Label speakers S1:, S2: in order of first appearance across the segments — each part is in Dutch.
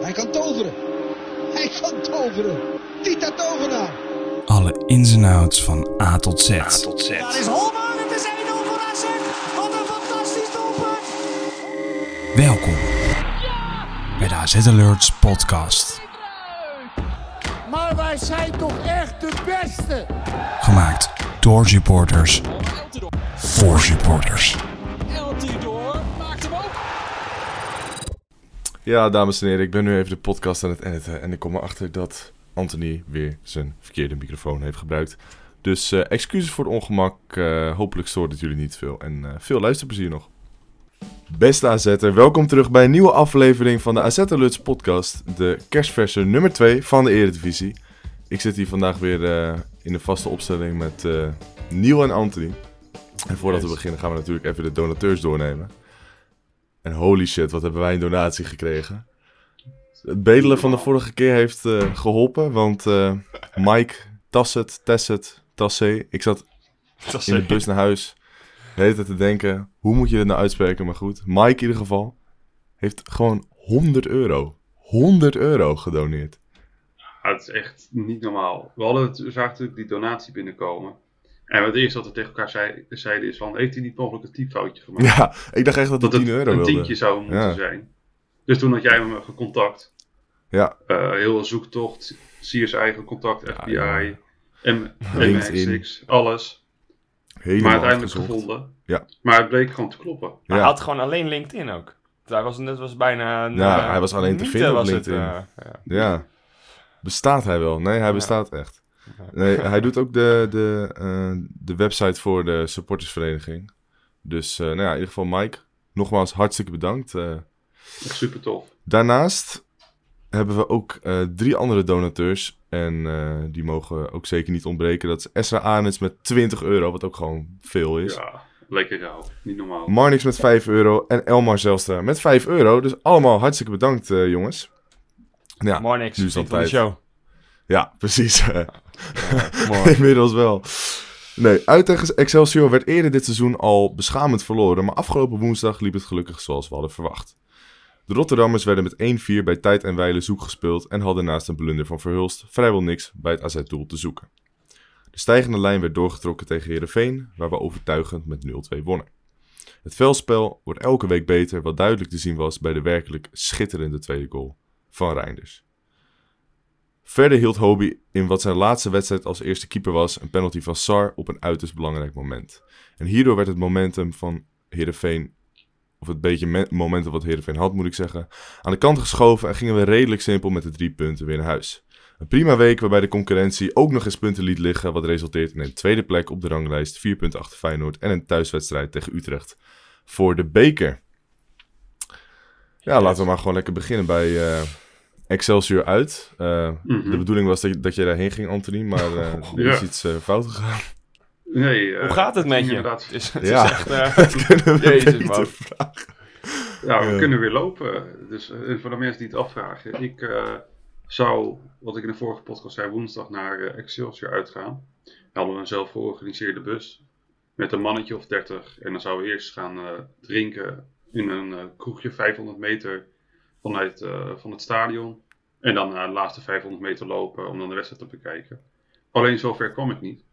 S1: Hij kan toveren. Hij kan toveren. Tita Tovenaar.
S2: Alle ins en outs van A tot Z. A tot Z.
S3: Daar is Holman, het is 1-0 voor AZ. Wat een fantastisch doelpunt.
S2: Welkom bij de AZ Alerts podcast.
S4: Maar wij zijn toch echt de beste.
S2: Gemaakt door supporters. Voor supporters.
S5: Eltidoor maakt hem ook.
S6: Ja, dames en heren, ik ben nu even de podcast aan het editen. En ik kom erachter dat Anthony weer zijn verkeerde microfoon heeft gebruikt. Dus eh, excuses voor het ongemak. Eh, hopelijk stoort het jullie niet veel. En eh, veel luisterplezier nog. Beste AZ'er, welkom terug bij een nieuwe aflevering van de AZ Luts podcast. De kerstversie nummer 2 van de Eredivisie. Ik zit hier vandaag weer eh, in de vaste opstelling met eh, Niel en Anthony. En voordat we beginnen gaan we natuurlijk even de donateurs doornemen. En holy shit, wat hebben wij een donatie gekregen. Het bedelen van de vorige keer heeft eh, geholpen, want eh, Mike, Tasset, Tasset, Tassé. Ik zat in de bus naar huis de hele tijd te denken, hoe moet je dit nou uitspreken? Maar goed, Mike in ieder geval heeft gewoon 100 euro. 100 euro gedoneerd.
S7: Ja, het is echt niet normaal. We hadden het, we zagen natuurlijk die donatie binnenkomen. En het eerste wat we tegen elkaar zei- zeiden is van, heeft hij niet mogelijk een typfoutje gemaakt?
S6: Ja, ik dacht echt dat het
S7: dat het
S6: 10 euro
S7: een
S6: wilde.
S7: tientje zou moeten
S6: Ja.
S7: zijn. Dus toen had jij hem gecontact.
S6: Ja,
S7: Eh heel zoektocht, CSI gecontact, FBI,
S6: ja.
S7: M-
S6: LinkedIn.
S7: MX6, alles.
S6: helemaal
S7: maar uiteindelijk
S6: uitgezocht.
S7: gevonden.
S6: Ja.
S7: Maar het bleek gewoon te kloppen.
S6: Ja.
S8: Maar hij had gewoon alleen LinkedIn ook. Dat was, dat was bijna... een,
S6: Ja,
S8: eh,
S6: hij was alleen te
S8: mythe
S6: vinden op
S8: was het,
S6: LinkedIn.
S8: eh, ja.
S6: Ja. Bestaat hij wel? Nee, hij bestaat echt. Nee, hij doet ook de, de, eh, de website voor de supportersvereniging. Dus eh, nou ja, in ieder geval Mike, nogmaals hartstikke bedankt. eh.
S7: Echt super tof.
S6: daarnaast hebben we ook eh, drie andere donateurs. En eh, die mogen ook zeker niet ontbreken. Dat is Esra Arnets met 20 euro, wat ook gewoon veel is.
S7: Ja, lekker rauw. Niet normaal.
S6: Marnix met 5 euro en Elmar Zelstra met 5 euro. Dus allemaal hartstikke bedankt, eh, jongens. Ja,
S8: Mooi niks.
S6: nu is het
S8: Vriend van de
S6: tijd.
S8: show.
S6: Ja, precies.
S8: Mooi.
S6: Inmiddels wel. Nee, uit tegen Excelsior werd eerder dit seizoen al beschamend verloren, maar afgelopen woensdag liep het gelukkig zoals we hadden verwacht. De Rotterdammers werden met 1-4 bij tijd en wijle zoek gespeeld en hadden naast een blunder van Verhulst vrijwel niks bij het AZ-doel te zoeken. De stijgende lijn werd doorgetrokken tegen Heerenveen, waar we overtuigend met 0-2 wonnen. Het veldspel wordt elke week beter, wat duidelijk te zien was bij de werkelijk schitterende tweede goal van Reinders. Verder hield Hobie in wat zijn laatste wedstrijd als eerste keeper was een penalty van Sar op een uiterst belangrijk moment. En hierdoor werd het momentum van Heerenveen, of het beetje me- momentum wat Heerenveen had moet ik zeggen, aan de kant geschoven en gingen we redelijk simpel met de drie punten weer naar huis. Een prima week waarbij de concurrentie ook nog eens punten liet liggen, wat resulteert in een tweede plek op de ranglijst, vier punten achter Feyenoord en een thuiswedstrijd tegen Utrecht voor de beker. Ja, laten we maar gewoon lekker beginnen bij eh, Excelsior uit. Eh,
S7: Mhm. Oh,
S6: De bedoeling was dat je, dat je daarheen ging, Anthony, maar eh, er
S7: Ja.
S6: is iets eh, fout gegaan.
S7: Nee, eh,
S8: Hoe gaat het met je?
S7: inderdaad.
S8: Het is, het
S6: Ja.
S8: is echt... eh,
S6: Kunnen we
S8: Jezus,
S6: beter
S8: man.
S6: vragen?
S7: Ja, we
S6: Ja.
S7: kunnen weer lopen. Dus eh, voor de mensen die het afvragen. Ik eh, zou, wat ik in de vorige podcast zei, woensdag naar eh, Excelsior uitgaan. Dan hadden we een zelf georganiseerde bus. Met een mannetje of 30. En dan zouden we eerst gaan eh, drinken in een eh, kroegje 500 meter vanuit eh, van het stadion. En dan naar de laatste 500 meter lopen om dan de wedstrijd te bekijken. Alleen zover kwam ik niet.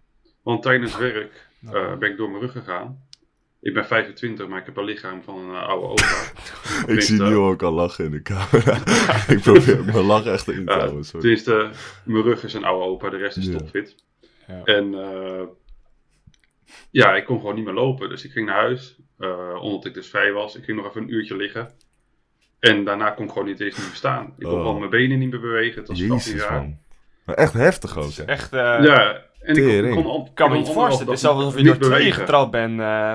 S7: Want tijdens werk eh, ben ik door mijn rug gegaan. Ik ben 25, maar ik heb een lichaam van een eh, oude opa.
S6: Ik
S7: Tenminste,
S6: zie nu ook al lachen in de camera. ik probeer ook mijn lach echt in te
S7: Ja,
S6: houden. sorry.
S7: Tenminste, mijn rug is een oude opa, de rest is
S6: Ja.
S7: topfit.
S8: Ja.
S7: En eh, ja, ik kon gewoon niet meer lopen. Dus ik ging naar huis, eh, omdat ik dus vrij was. Ik ging nog even een uurtje liggen. En daarna kon ik gewoon niet eens niet meer staan. Ik kon
S6: Oh.
S7: gewoon mijn benen niet meer bewegen. Het was fucking
S6: Jezus,
S7: raar.
S6: man. Maar echt heftig ook, hè?
S8: Echt... ja.
S7: Ja, en ik
S6: Tering.
S7: kon, kon, al-
S8: Ik kan me
S7: kon
S8: niet
S7: anderhalf
S8: voorstellen. Het is
S7: dag
S8: alsof je
S7: niet
S8: door twee
S7: bewegen.
S8: getrapt bent. eh,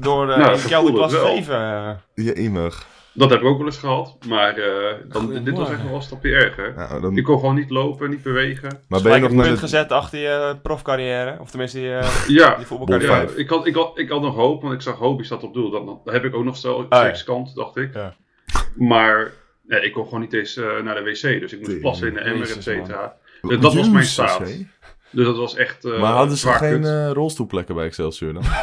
S8: door eh
S7: Nou,
S8: in kelderklas
S7: gevoel het wel.
S8: 7. eh.
S6: Je imig.
S7: Dat heb ik ook wel eens gehad. Maar eh, dan, dit was echt
S8: Goedemorgen.
S7: wel een stapje erger.
S6: Ja,
S7: Ik
S6: dan,
S7: kon gewoon niet lopen, niet bewegen.
S6: maar ben je
S8: Gelijk
S6: nog
S8: een
S6: naar
S8: punt
S6: de...
S8: gezet achter je eh, profcarrière. Of tenminste je,
S7: Ja,
S8: je
S6: Bol
S7: Ja,
S8: voetbalcarrière.
S6: vijf.
S7: Eh, ik had, ik, had, ik had nog hoop, want ik zag Hobie staat op doel. Dan heb ik ook nog stel
S8: Ah, ja.
S7: sekskant, dacht ik.
S8: Ja.
S7: Maar nee, ik kon gewoon niet eens eh, naar de wc. Dus ik moest plassen in de emmer, et
S8: Jezus, man.
S7: cetera. Dus dat was mijn
S6: Jezus,
S7: staat.
S6: hè?
S7: Dus dat was echt. eh,
S6: maar hadden ze
S7: zwaar
S6: geen
S7: kut.
S6: eh, rolstoelplekken bij Excelsior dan?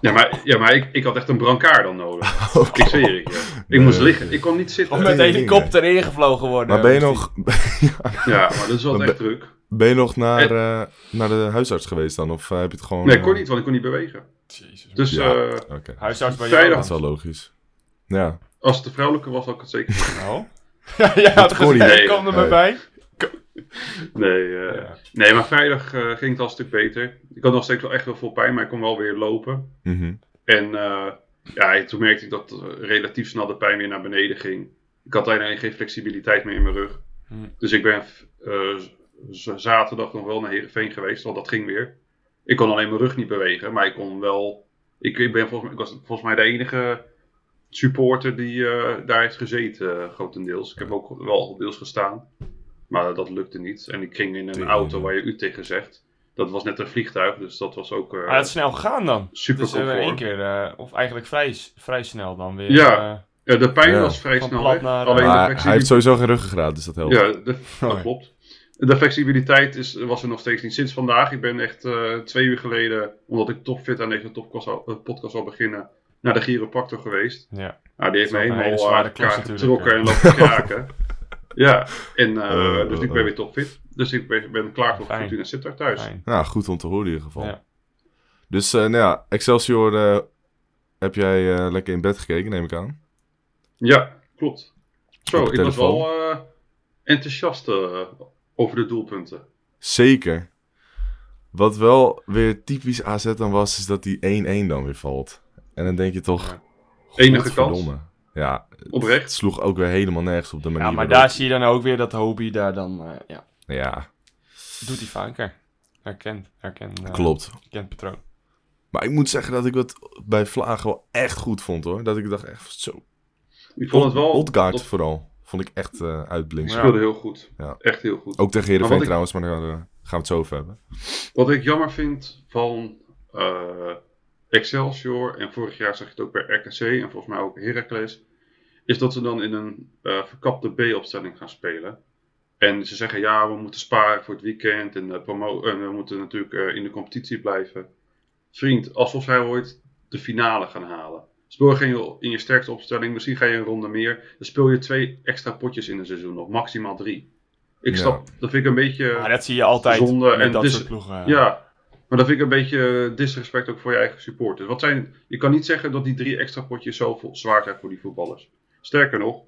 S7: Ja, maar, ja, maar ik, ik had echt een brancard dan nodig. Ik zweer ik. ja. Ik moest liggen. Ik kon niet zitten.
S8: Of met
S6: dingen.
S8: een helikopter ingevlogen worden.
S6: maar ben je,
S8: Misschien.
S6: nog, Ja,
S7: Ja, maar dat is wel
S6: Dan
S7: echt druk.
S6: ben je nog naar, eh, naar de huisarts geweest dan? Of eh, heb je het gewoon...
S7: Nee, ik
S6: eh,
S7: kon niet, want ik kon niet bewegen.
S8: Jezus.
S7: Dus
S6: Ja.
S7: eh,
S6: Oké,
S8: Huisarts bij jou.
S7: Vrijdag.
S6: dat is wel logisch. Ja,
S7: als het de vrouwelijke was, had ik het zeker niet.
S8: Oh. ja, ja, had
S6: kon
S8: gezien,
S7: niet.
S8: ik kwam er maar
S6: Nee.
S8: bij.
S7: Nee, eh,
S8: Ja.
S7: nee, maar vrijdag eh, ging het al een stuk beter. Ik had nog steeds wel echt wel veel pijn, maar ik kon wel weer lopen.
S6: mhm.
S7: En eh, ja, toen merkte ik dat eh, relatief snel de pijn weer naar beneden ging. Ik had alleen geen flexibiliteit meer in mijn rug.
S8: Hm.
S7: Dus ik ben eh, z- zaterdag nog wel naar Heerenveen geweest, want dat ging weer. Ik kon alleen mijn rug niet bewegen, maar ik kon wel... Ik, ik ben volgens mij, ik was volgens mij de enige supporter die eh, daar heeft gezeten, eh, grotendeels. Ik heb ook wel deels gestaan, maar dat lukte niet. En ik ging in een
S6: Tegen-
S7: auto waar je u tegen zegt. Dat was net een vliegtuig, dus dat was ook... eh,
S8: Maar het Ah, is snel gegaan dan.
S7: Super
S8: dus eh, in
S7: comfort.
S8: één keer, eh, of eigenlijk vrij, s- vrij snel dan weer.
S7: Ja.
S8: eh,
S7: ja, de pijn
S6: Ja.
S7: was vrij
S8: Van
S7: snel
S8: plat
S7: weg.
S8: naar- eh,
S7: Alleen de
S6: Maar hij
S7: flexibiliteit...
S6: heeft sowieso geen ruggengraat, dus dat helpt.
S7: Ja, de, dat
S8: Nee.
S7: klopt. De flexibiliteit is, was er nog steeds niet sinds vandaag. Ik ben echt eh, twee uur geleden, omdat ik topfit aan deze topkast al- eh, podcast zal beginnen, naar de chiropractor geweest.
S8: ja.
S7: Nou, die heeft me
S8: Dat is wel een hele
S7: helemaal aan
S8: zware klus
S7: elkaar
S8: natuurlijk,
S7: getrokken
S8: ja.
S7: en laten kraken. ja, en, eh,
S6: Eh,
S7: dus
S6: eh,
S7: ik ben
S6: eh.
S7: weer topfit. Dus ik ben, ben klaar voor
S8: Fijn.
S7: Fortuna en Sittard thuis.
S8: Fijn.
S6: Nou, goed om te horen in ieder geval.
S8: Ja.
S6: Dus eh, nou ja, Excelsior eh, heb jij eh, lekker in bed gekeken, neem ik aan.
S7: Ja, klopt. Zo,
S6: Op
S7: ik
S6: de
S7: was
S6: telefoon.
S7: wel eh, enthousiast eh, over de doelpunten.
S6: Zeker. Wat wel weer typisch AZ dan was, is dat die 1-1 dan weer valt. En dan denk je toch...
S7: Enige
S6: godverdomme.
S7: kans.
S6: Ja, het
S7: Oprecht.
S6: sloeg ook weer helemaal nergens op de manier
S8: ja, maar
S6: waarop-
S8: daar zie je dan ook weer dat Hobie daar dan, eh, ja,
S6: Ja,
S8: doet hij vaker. Herkent, herkent, eh,
S6: klopt.
S8: herkent patroon.
S6: Maar ik moet zeggen dat ik het bij Vlaag wel echt goed vond hoor. Dat ik dacht echt zo...
S7: Ik vond het wel...
S6: Odgaard
S7: dat-
S6: vooral. Vond ik echt eh
S7: Die
S6: uitblinken.
S7: speelde heel goed.
S6: Ja.
S7: Echt heel goed.
S6: Ook tegen Heerenveen
S7: Maar wat ik-
S6: trouwens, maar daar eh, gaan we het zo over hebben.
S7: Wat ik jammer vind van eh, Excelsior, en vorig jaar zag je het ook bij RKC en volgens mij ook Heracles, is dat ze dan in een eh, verkapte B-opstelling gaan spelen. En ze zeggen ja, we moeten sparen voor het weekend en, eh, promo en we moeten natuurlijk eh, in de competitie blijven. Vriend, alsof zij ooit de finale gaan halen. Speel geen je in je sterkste opstelling, misschien ga je een ronde meer. Dan speel je twee extra potjes in een seizoen, of maximaal drie. Ik
S6: Ja.
S7: snap, dat vind ik een beetje...
S8: Maar dat zie je altijd
S7: Zonde
S8: met
S7: en
S8: dat
S7: dis-
S8: soort ploegen. eh.
S7: Ja, maar dat vind ik een beetje eh, disrespect ook voor je eigen supporters. Wat zijn, je kan niet zeggen dat die drie extra potjes zo vo- zwaar zijn voor die voetballers. Sterker nog,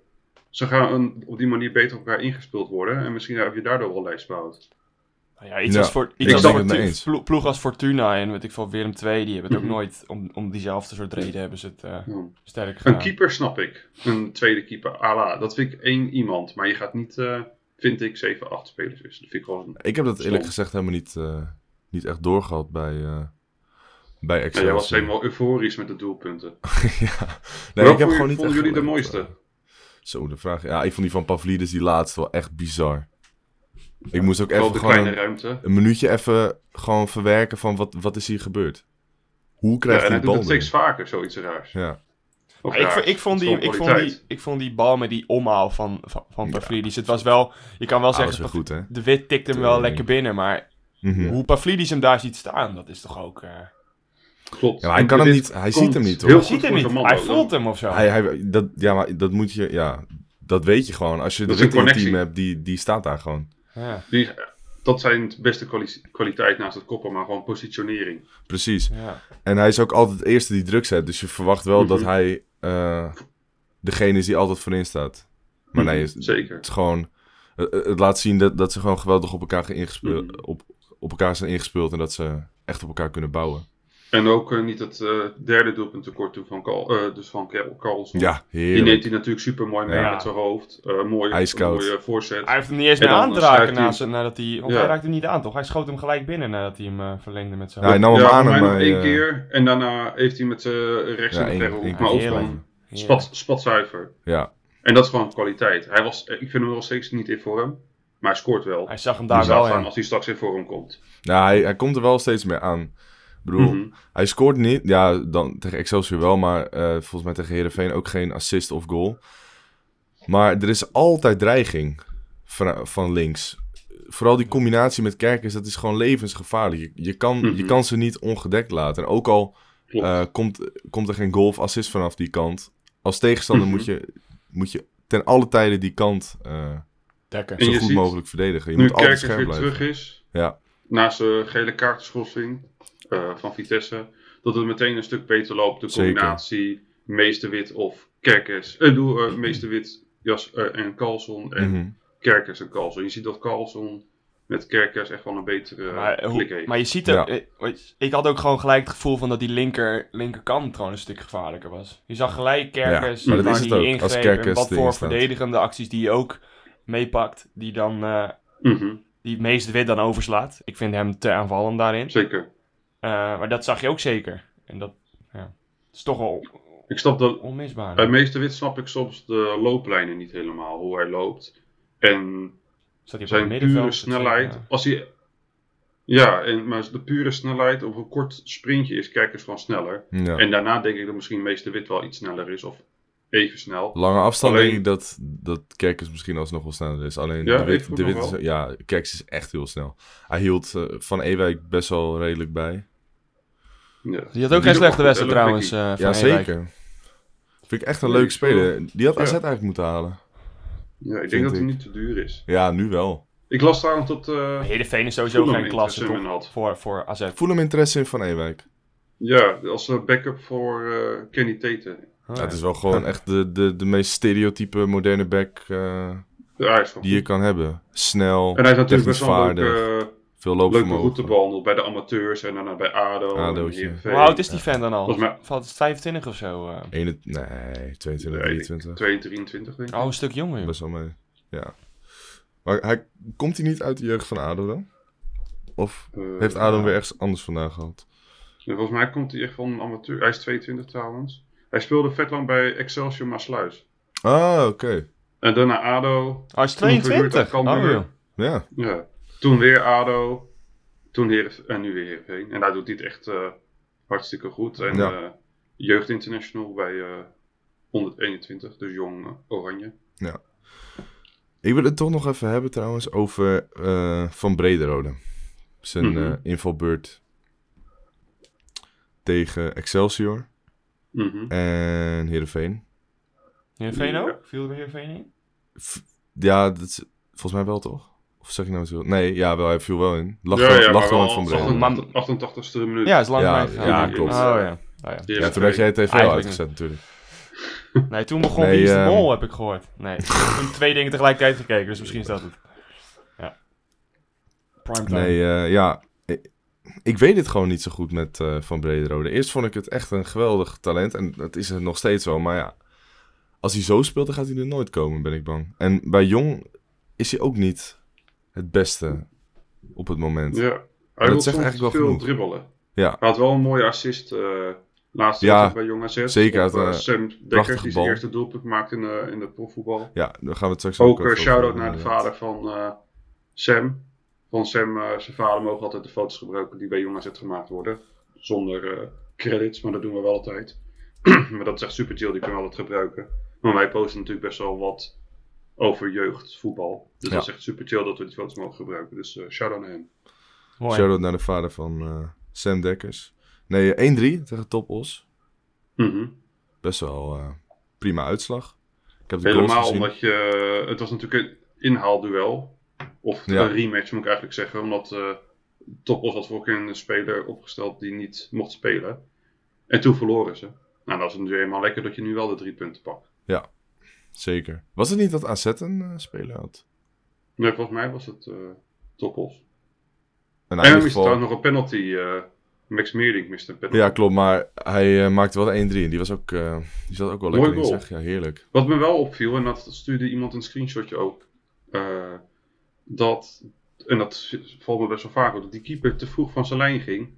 S7: ze gaan een- op die manier beter op elkaar ingespeeld worden. En misschien heb je daardoor wel lijst behoud.
S8: Nou Ja, iets
S6: Ja,
S8: als, voor,
S6: ik
S8: iets als
S6: ben het
S8: Fortu-
S6: mee eens.
S8: plo- ploeg als Fortuna en weet ik veel, Willem II, die hebben het ook nooit, om, om diezelfde soort reden hebben ze het eh,
S7: Ja.
S8: sterk
S7: Een
S8: gedaan.
S7: keeper snap ik. Een tweede keeper, ala. Dat vind ik één iemand. Maar je gaat niet, eh, vind ik, 7, 8 spelers wisselen. Dat vind ik wel een...
S6: Ik heb dat eerlijk
S7: Stom.
S6: gezegd helemaal niet, eh, niet echt doorgehad bij, eh bij
S7: Ja,
S6: Excelsior.
S7: jij was helemaal euforisch met de doelpunten.
S6: ja. Nee,
S7: Welke
S6: ik heb
S7: vond-
S6: gewoon niet
S7: vonden
S6: echt
S7: jullie de
S6: gemerkt,
S7: mooiste?
S6: eh, Zo, de vraag. Ja, ik vond die van Pavlidis, die laatste, wel echt bizar. Ik moest ook
S7: Wel
S6: even
S7: de
S6: gewoon
S7: kleine
S6: een,
S7: ruimte.
S6: een minuutje even gewoon verwerken van wat, wat is hier gebeurd. Hoe
S7: Ja,
S6: krijgt
S7: en
S6: hij
S7: hij
S6: die
S7: doet
S6: bal
S7: het steeds
S6: binnen?
S7: vaker, zoiets raars.
S6: Ja,
S7: Of
S8: Maar ik,
S7: raar.
S8: vo- ik, vond
S7: Het is
S8: die,
S7: wel
S8: ik, vond
S7: kwaliteit.
S8: die, ik vond die bal met die omhaal van, van, van Pavlidis. Het was wel, je kan wel
S6: ah, dat was
S8: zeggen,
S6: wel
S8: Pav-
S6: goed, hè?
S8: de wit tikt hem wel
S6: Tuurlijk.
S8: lekker binnen. Maar
S6: Mhm.
S8: hoe Pavlidis hem daar ziet staan, dat is toch ook... eh,
S7: Klopt.
S6: Ja, maar hij
S7: En
S6: kan hem
S7: dit
S6: niet- hij
S7: komt
S6: ziet hem niet, hoor.
S7: heel
S8: hij
S7: goed
S8: ziet hem
S7: voor
S8: niet,
S7: zijn man,
S8: hij
S7: hoor.
S8: voelt hem of zo.
S6: Hij, hij, dat, ja, maar dat moet je, ja, dat weet je gewoon. Als je de
S7: Dat is een
S6: rit in het team
S7: connectie.
S6: hebt, die, die staat daar gewoon.
S8: Ja,
S7: Die, dat zijn de beste kwali- kwaliteit naast het koppen, maar gewoon positionering.
S6: Precies.
S8: ja.
S6: En hij is ook altijd de eerste die druk zet. Dus je verwacht wel
S7: Mhm.
S6: dat hij eh, degene is die altijd voorin staat. Maar nee, het,
S7: Mhm. Zeker.
S6: het is gewoon... Het, het laat zien dat, dat ze gewoon geweldig op elkaar, geïngespeeld,
S7: Mhm.
S6: op, op elkaar zijn ingespeeld. En dat ze echt op elkaar kunnen bouwen.
S7: En ook eh, niet het eh, derde doelpunt tekort toe van, Carl, eh, dus van Kel- Carlson.
S6: Ja,
S7: Die neemt
S6: heerlijk.
S7: hij natuurlijk super mooi mee
S8: Ja.
S7: met zijn hoofd. Eh mooie,
S6: Ijskoud.
S7: mooie voorzet.
S8: Hij heeft hem niet eens
S7: En
S8: meer
S7: dan
S8: aan te
S7: sluit
S8: raken
S7: hij-
S8: naast, nadat hij... Want
S7: Ja.
S8: hij raakte hem niet aan, toch? Hij schoot hem gelijk binnen nadat hij hem eh, verlengde met zijn
S6: Ja, hij nam
S7: ja,
S6: hem aan.
S7: voor mij
S6: hem
S7: nog één keer. oh, En daarna heeft hij met zijn rechts
S6: eh, Ja,
S7: in de
S6: één-
S7: verre hoek,
S6: één keer
S7: Maar ook gewoon
S6: blijven.
S8: Ja.
S7: spat, spatzuiver.
S6: Ja,
S7: En dat is gewoon kwaliteit. Hij was, eh, ik vind hem nog steeds niet in vorm. Maar hij scoort wel.
S8: Hij zag hem
S7: Dus
S8: daar
S7: laat
S8: wel
S7: staan
S8: in.
S7: als hij straks in vorm komt.
S6: nou, hij, hij komt er wel steeds meer aan. Ik bedoel,
S7: Mhm.
S6: hij scoort niet. Ja, dan tegen Excelsior wel. Maar eh, volgens mij tegen Herenveen ook geen assist of goal. Maar er is altijd dreiging van, van links. vooral die combinatie met kerkers, dat is gewoon levensgevaarlijk. Je, je, kan, je
S7: Mhm.
S6: kan ze niet ongedekt laten. En ook al
S7: Klopt.
S6: eh, komt, komt er geen golfassist vanaf die kant, als tegenstander
S7: Mhm.
S6: moet, je, moet je ten alle tijden die kant eh,
S8: Dekker.
S7: En
S6: zo
S7: je
S6: goed
S7: ziet,
S6: mogelijk verdedigen. Je
S7: nu
S6: moet altijd
S7: Kerkers
S6: scherp
S7: weer
S6: blijven.
S7: terug is,
S6: Ja.
S7: naast de gele kaartschorsing eh, van Vitesse, dat het meteen een stuk beter loopt. De
S6: Zeker.
S7: combinatie Meesterwit of Kerkers. Eh, doe, eh, Meesterwit jas, eh, en Carlson en
S6: Mhm.
S7: Kerkers en Carlson. Je ziet dat Carlson met Kerkers echt wel een betere
S8: Maar, eh,
S7: maar,
S8: hoe-
S7: eh, klik heeft.
S8: maar je ziet ook,
S6: Ja.
S8: eh, weet je, ik had ook gewoon gelijk het gevoel van dat die linker, linkerkant gewoon een stuk gevaarlijker was. Je zag gelijk Kerkers,
S6: Ja, maar dat
S8: waar
S6: is
S8: die
S6: het ook, als
S8: ingreep en
S6: Kerkers
S8: wat
S6: erin
S8: voor
S6: staat.
S8: verdedigende acties die je ook meepakt, die dan eh
S7: Mhm,
S8: die meest wit dan overslaat. Ik vind hem te aanvallend daarin.
S7: Zeker.
S8: Eh, maar dat zag je ook zeker. En dat ja, is toch wel
S7: Ik snap dat,
S8: onmisbaar.
S7: bij Meesterwit snap ik soms de looplijnen niet helemaal, hoe hij loopt. En
S8: Staat hij op
S7: zijn
S8: het
S7: pure
S8: middenveld? dat
S7: snelheid.
S8: zeker,
S7: Als hij, ja, en, maar de pure snelheid op een kort sprintje is kijkers gewoon sneller.
S6: Ja.
S7: En daarna denk ik dat misschien Meester Wit wel iets sneller is of even snel.
S6: Lange afstand
S7: Alleen-
S6: denk ik dat, dat Kerkers misschien alsnog wel sneller is. Alleen
S7: Ja,
S6: de
S7: ik
S6: wit,
S7: vond
S6: de
S7: nog
S6: wit is,
S7: wel.
S6: ja, Kerkers is echt heel snel. Hij hield eh, Van Ewijk best wel redelijk bij.
S7: Ja.
S8: Die had ook geen
S7: doet
S8: slechte
S7: wel goed, hè,
S8: wedstrijd trouwens.
S7: Lucky.
S8: eh, van
S6: ja,
S8: Ewijk.
S6: zeker. Vind ik echt een
S7: Nee,
S6: leuke
S7: ik vond-
S6: speler. Die had
S7: Ja.
S6: AZ eigenlijk moeten halen.
S8: eh,
S7: Ja, ik
S6: vind
S7: denk dat hij
S6: ik.
S7: niet te duur is.
S6: Ja, nu wel.
S7: Ik las trouwens dat... eh,
S8: Heerenveen is sowieso
S7: Voelen
S8: geen
S7: hem
S8: klasse
S7: interesse
S8: toch?
S7: in had.
S8: voor, voor AZ.
S6: Voel hem interesse in Van Ewijk.
S7: ja, als eh, backup voor eh, Kenny Tete.
S8: Oh,
S6: Ja,
S8: ja.
S6: het is wel gewoon echt de, de, de meest stereotype moderne back eh,
S7: Ja, hij is gewoon
S6: die je
S7: goed.
S6: kan hebben. Snel,
S7: En hij is natuurlijk
S6: technisch
S7: best wel een
S6: vaardig,
S7: leuke, eh,
S6: veel
S7: leuke
S6: loopvermogen.
S7: route behandeld bij de amateurs en daarna bij ADO.
S6: ADO'tje.
S7: en Heerenveen.
S8: Hoe oud is die fan dan al?
S7: Volgens mij-
S8: Valt het 25 of zo? eh?
S6: Ene- nee, 22,
S7: Nee, ik denk
S6: 23.
S7: 2, 23 denk ik.
S8: Oh, een stuk jonger. joh.
S6: Best wel mee. Ja. Maar hij, komt hij niet uit de jeugd van ADO dan? Of
S7: Eh,
S6: heeft ADO
S7: ja.
S6: weer ergens anders vandaan gehad?
S7: Ja, volgens mij komt hij echt van een amateur. Hij is 22 trouwens. Hij speelde vet lang bij Excelsior Maasluis.
S6: Ah, oké.
S7: En daarna ADO.
S8: Oh, hij is
S7: Toen verhuurd aan
S8: 22. Oh,
S7: Cambuur.
S8: joh.
S6: Ja.
S7: Ja. Toen weer ADO. Toen Heer, en nu weer Heerenveen. En daar doet hij het echt eh, hartstikke goed. En
S6: Ja.
S7: eh, Jeugd International bij eh, 121, dus jong eh, Oranje.
S6: Ik wil het toch nog even hebben trouwens over eh, Van Brederode. Zijn
S7: Mhm.
S6: eh, invalbeurt tegen Excelsior
S7: Mhm.
S6: en Heerenveen.
S8: Heerenveen
S7: Ja.
S8: ook? Viel er bij Heerenveen in?
S6: Ja, dat is volgens mij wel toch? Of zeg ik nou zo? Nee, ja, wel, hij viel wel in. Lag
S7: Ja,
S6: wel,
S7: ja,
S6: lag
S7: maar
S6: wel aan
S7: wel
S6: Van Brederode.
S7: 88 88ste minuut.
S8: Ja, is lang
S6: Ja,
S8: mee gegaan.
S6: ja,
S7: klopt.
S8: Oh, ja. Oh, ja.
S6: Ja, toen werd jij TV
S8: Eigenlijk
S6: uitgezet natuurlijk.
S8: Nee, toen begon
S6: Nee,
S8: Wie is de
S6: ehm,
S8: Mol, heb ik gehoord. Nee, ik heb toen twee dingen tegelijkertijd gekeken, dus misschien is dat het. Ja. Primetime.
S6: Nee, eh, ja. Ik, ik weet het gewoon niet zo goed met eh, Van Brederode. Eerst vond ik het echt een geweldig talent. En dat is het nog steeds wel. Maar ja, als hij zo speelt, dan gaat hij er nooit komen, ben ik bang. En bij Jong is hij ook niet het beste op het moment. Ja,
S7: Ja. Hij wil
S6: zegt
S7: soms
S6: eigenlijk wel
S7: veel
S6: genoeg.
S7: dribbelen.
S6: Ja.
S7: Hij had wel een mooie assist eh laatste
S6: Ja,
S7: wedstrijd bij Jong AZ.
S6: zeker.
S7: Op,
S6: Hij had,
S7: eh,
S6: eh,
S7: Sam Dekker,
S6: prachtige
S7: die zijn
S6: bal.
S7: eerste doelpunt maakte in, eh, in het profvoetbal.
S6: daar gaan we het straks
S7: Ook
S6: even
S7: een
S6: over
S7: shout-out
S6: hebben,
S7: naar de
S6: inderdaad.
S7: vader van eh, Sam. Van Sam, eh, zijn vader mogen altijd de foto's gebruiken die bij Jong AZ gemaakt worden. Zonder eh, credits, maar dat doen we wel altijd. maar dat is echt super chill, die kunnen we altijd gebruiken. Maar wij posten natuurlijk best wel wat over jeugdvoetbal. Dus
S6: Ja.
S7: dat is echt super chill dat we die foto's mogen gebruiken. Dus eh shout-out naar hem.
S8: Mooi.
S6: Shout-out naar de vader van eh, Sam Dekkers. Nee, eh, 1-3 tegen Topos.
S7: Mhm.
S6: Best wel eh, prima uitslag. Ik heb de goals
S7: Helemaal
S6: gezien.
S7: omdat je. Het was natuurlijk een inhaalduel. Of
S6: Ja.
S7: een rematch moet ik eigenlijk zeggen. Omdat eh Topos had vorige keer een speler opgesteld die niet mocht spelen. En toen verloren ze. Nou, dat is nu eenmaal lekker dat je nu wel de drie punten pakt.
S6: Zeker. Was het niet dat AZ een eh, speler had?
S7: Nee, volgens mij was het eh Topos.
S6: En
S7: en we misten trouwens nog een penalty. eh, Max Meerdink miste een penalty.
S6: Ja, klopt. Maar hij eh, maakte wel de 1-3. En die, was ook, eh, die zat ook wel lekker in,
S7: goal.
S6: zeg. Ja, heerlijk.
S7: Wat me wel opviel, en dat stuurde iemand een screenshotje ook. eh, dat, en dat valt me best wel vaak op, dat die keeper te vroeg van zijn lijn ging.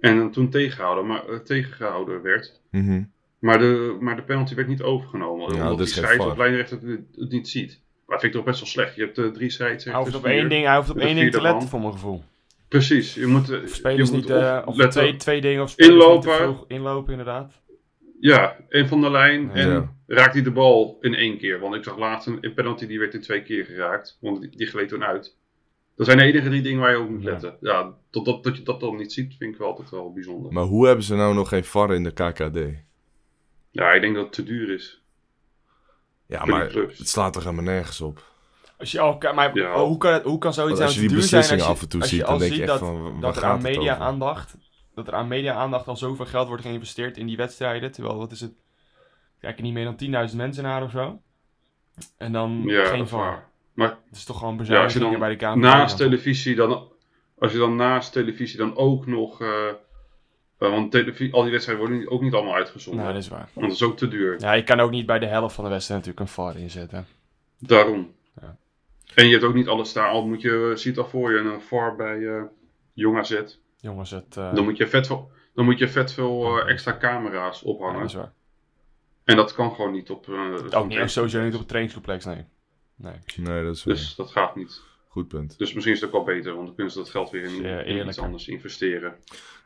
S7: En dan toen tegengehouden, maar, eh, tegengehouden werd.
S6: Mhm.
S7: Maar de, maar de penalty werd niet overgenomen.
S6: Ja,
S7: omdat
S6: dat
S7: die
S6: is geen
S7: scheids of
S6: VAR.
S7: lijnrechter het, het niet ziet. Maar dat vind ik toch best wel slecht. Je hebt eh, drie scheidsrechters.
S8: Hij hoeft op
S7: vier.
S8: één ding, hij hoeft op
S7: De
S8: één ding te
S7: vierde
S8: letten,
S7: man.
S8: voor mijn gevoel.
S7: Precies. Je moet, eh,
S8: Of spelers
S7: je moet
S8: niet, eh,
S7: of
S8: of
S7: letten-
S8: twee, twee dingen, of spelers
S7: Inlopen.
S8: niet te vroeg inlopen, inderdaad.
S7: Ja, één van de lijn. En
S6: Ja.
S7: raakt hij de bal in één keer. Want ik zag laatst een, een penalty die werd in twee keer geraakt. Want die, die gleed toen uit. Dat zijn de enige drie dingen waar je op moet letten. Ja, totdat dat je dat dan niet ziet, vind ik wel altijd wel bijzonder.
S6: Maar hoe hebben ze nou nog geen VAR in de KKD?
S7: Ja, ik denk dat het te duur is.
S6: Ja,
S7: Voor die
S6: maar
S7: clubs.
S6: het slaat er helemaal nergens op.
S8: Als je, al kan- maar
S7: Ja.
S8: hoe, kan het, hoe kan
S6: Want
S8: zoiets nou
S6: als je
S8: te
S6: die
S8: duur zijn als je,
S6: beslissingen af en toe
S8: als je
S6: ziet,
S8: al
S6: dan denk je
S8: ziet
S6: echt
S8: dat,
S6: van, waar
S8: dat er
S6: gaat
S8: aan
S6: het over?
S8: media aandacht, dat er aan media aandacht al zoveel geld wordt geïnvesteerd in die wedstrijden, terwijl wat is het, kijken niet meer dan 10.000 mensen naar of zo. En dan
S7: Ja, dat
S8: geen
S7: is
S8: VAR.
S7: waar. Maar
S8: Het is toch gewoon
S7: ja, als je
S8: bezuinigingen
S7: dan
S8: bij de KNVB.
S7: naast televisie dan, als je dan naast televisie dan ook nog, eh, eh, want televi- al die wedstrijden worden niet- ook niet allemaal uitgezonden.
S8: Nou, dat is waar.
S7: Want dat is ook te duur.
S8: Ja, je kan ook niet bij de helft van de wedstrijd natuurlijk een VAR inzetten.
S7: Daarom.
S8: Ja.
S7: En je hebt ook niet alles daar. Al moet je, eh, ziet al voor je een VAR bij eh Jong AZ.
S8: Jongens, het... eh,
S7: Dan moet je vet veel, dan moet je vet veel eh, extra camera's
S8: ja, dat
S7: ophangen.
S8: is waar.
S7: en dat kan gewoon niet op... eh, zo'n
S8: Ook niet,
S7: training.
S8: sowieso niet op het trainingscomplex, nee. Nee, precies.
S6: Nee, dat is wel
S7: Dus dat gaat niet.
S6: goed punt.
S7: Dus misschien is het ook wel beter, want dan kunnen ze dat geld weer in,
S8: Ja,
S7: in iets
S8: eerlijker.
S7: anders investeren.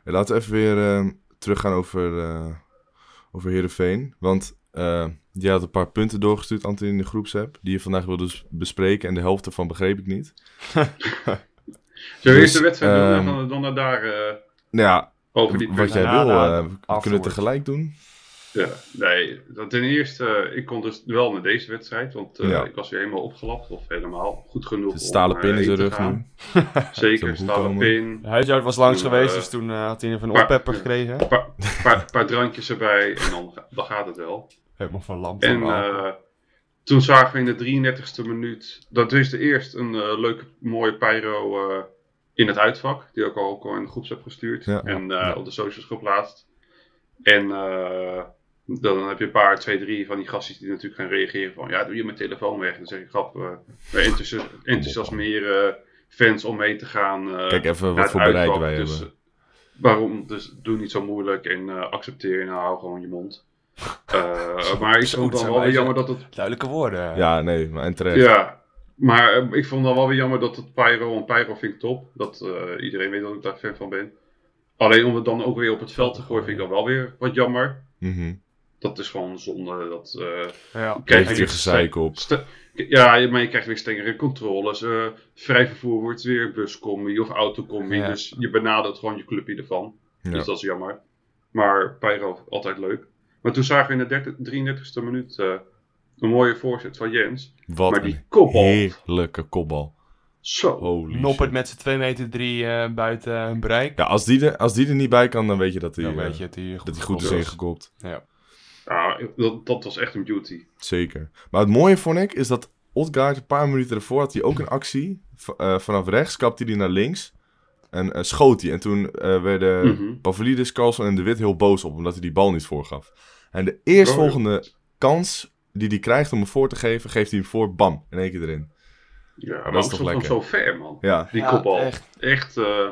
S6: Ja, Laten we even weer eh, teruggaan over, eh over Heerenveen. Want eh je had een paar punten doorgestuurd, Antin, in de groepsapp. Die je vandaag wilde s- bespreken. En de helft ervan begreep ik niet.
S7: Zullen we eerst
S6: Dus,
S7: de wedstrijd doen en
S6: ehm,
S7: dan, dan naar daar eh,
S6: Nou ja,
S7: over die
S6: wat
S7: punten?
S6: jij
S8: Ja,
S6: wil. eh,
S8: nou, dat-
S6: we kunnen
S8: afgehoord.
S6: het tegelijk doen.
S7: Ja, nee, dat- ten eerste, eh, ik kon dus wel naar deze wedstrijd, want eh,
S6: Ja.
S7: ik was weer helemaal opgelapt, of helemaal goed genoeg.
S6: De stalen
S7: om,
S6: pin
S7: eh,
S6: in zijn
S7: heen te
S6: rug
S7: gaan.
S6: nu.
S7: Zeker,
S6: Zou goed
S7: stalen
S6: komen.
S7: pin,
S8: De huisarts was langs
S7: Toen,
S8: geweest,
S7: eh,
S8: dus toen eh, had hij even een
S7: maar-
S8: oppepper
S7: ja.
S8: gekregen.
S7: een paar, paar, paar drankjes erbij en dan, ga- dan gaat het wel.
S8: Helemaal van lamp.
S7: En
S8: van alcohol.
S7: eh, toen zagen we in de 33ste minuut, dat is de eerst een eh, leuke, mooie pyro eh, in het uitvak, die ook al, ook al in de groeps heb gestuurd
S6: Ja.
S7: en eh, op de socials geplaatst. En eh, dan heb je een paar, twee, drie van die gasten die natuurlijk gaan reageren van, ja, doe je mijn telefoon weg. Dan zeg ik, grap, eh wij enthousi- enthousiasmeren fans om mee te gaan. eh,
S6: Kijk even
S7: naar
S6: wat
S7: het
S6: voor bereik
S7: uitvak.
S6: wij
S7: Dus,
S6: hebben.
S7: eh, Waarom? Dus doe niet zo moeilijk en eh, accepteer en hou gewoon je mond. Eh, maar ik
S8: Zo,
S7: vond het
S8: dat zijn
S7: dan wel
S8: wij,
S7: weer
S8: ja.
S7: jammer dat het
S8: Duidelijke woorden.
S6: Ja, nee, maar en terecht.
S7: ja, maar eh, ik vond dan wel weer jammer dat het Pyro, en Pyro vind ik top. Dat eh, iedereen weet dat ik daar fan van ben. Alleen om het dan ook weer op het veld te gooien vind ik dan wel weer wat jammer.
S6: Mhm.
S7: Dat is gewoon zonde. Dat, eh,
S8: Ja.
S7: krijg
S6: Heeft
S7: je
S6: je gezeik op.
S7: st- ja, je- maar je krijgt weer strengere controles. eh, vrij vervoer wordt weer buscombi of autocombi.
S8: Ja.
S7: Dus je benadert gewoon je clubje ervan.
S6: Ja.
S7: Dus dat is jammer. Maar Pyro, altijd leuk. Maar toen zagen we in de 33ste minuut eh, een mooie voorzet van Jens.
S6: Wat
S7: maar die
S6: een
S7: kopbal.
S6: heerlijke kopbal.
S7: Zo.
S6: Holy shit.
S8: Noppert met z'n 2 meter 3 buiten hun bereik.
S6: Ja, als die, er, als die er niet bij kan, dan weet je dat hij
S8: Dan weet
S6: eh,
S8: je dat hij goed,
S6: dat hij goed is
S8: gekopt
S6: ingekopt.
S8: Ja.
S7: Ja, dat, dat was echt een beauty.
S6: Zeker. Maar het mooie vond ik is dat Odgaard een paar minuten ervoor had hij ook een actie. V- eh, vanaf rechts kapte hij naar links en eh, schoot hij. En toen eh, werden
S7: Mhm.
S6: Pavlidis, Carlson en De Wit heel boos op, omdat hij die bal niet voorgaf. En de eerstvolgende kans die hij krijgt om hem voor te geven, geeft hij hem voor, bam, in één keer erin.
S7: Ja,
S6: dat
S7: maar
S6: is
S7: ook
S6: toch
S7: soms nog
S6: lekker.
S7: zo ver, man.
S6: Ja,
S7: Die
S8: Ja,
S7: kopbal.
S8: echt.
S7: Echt. eh,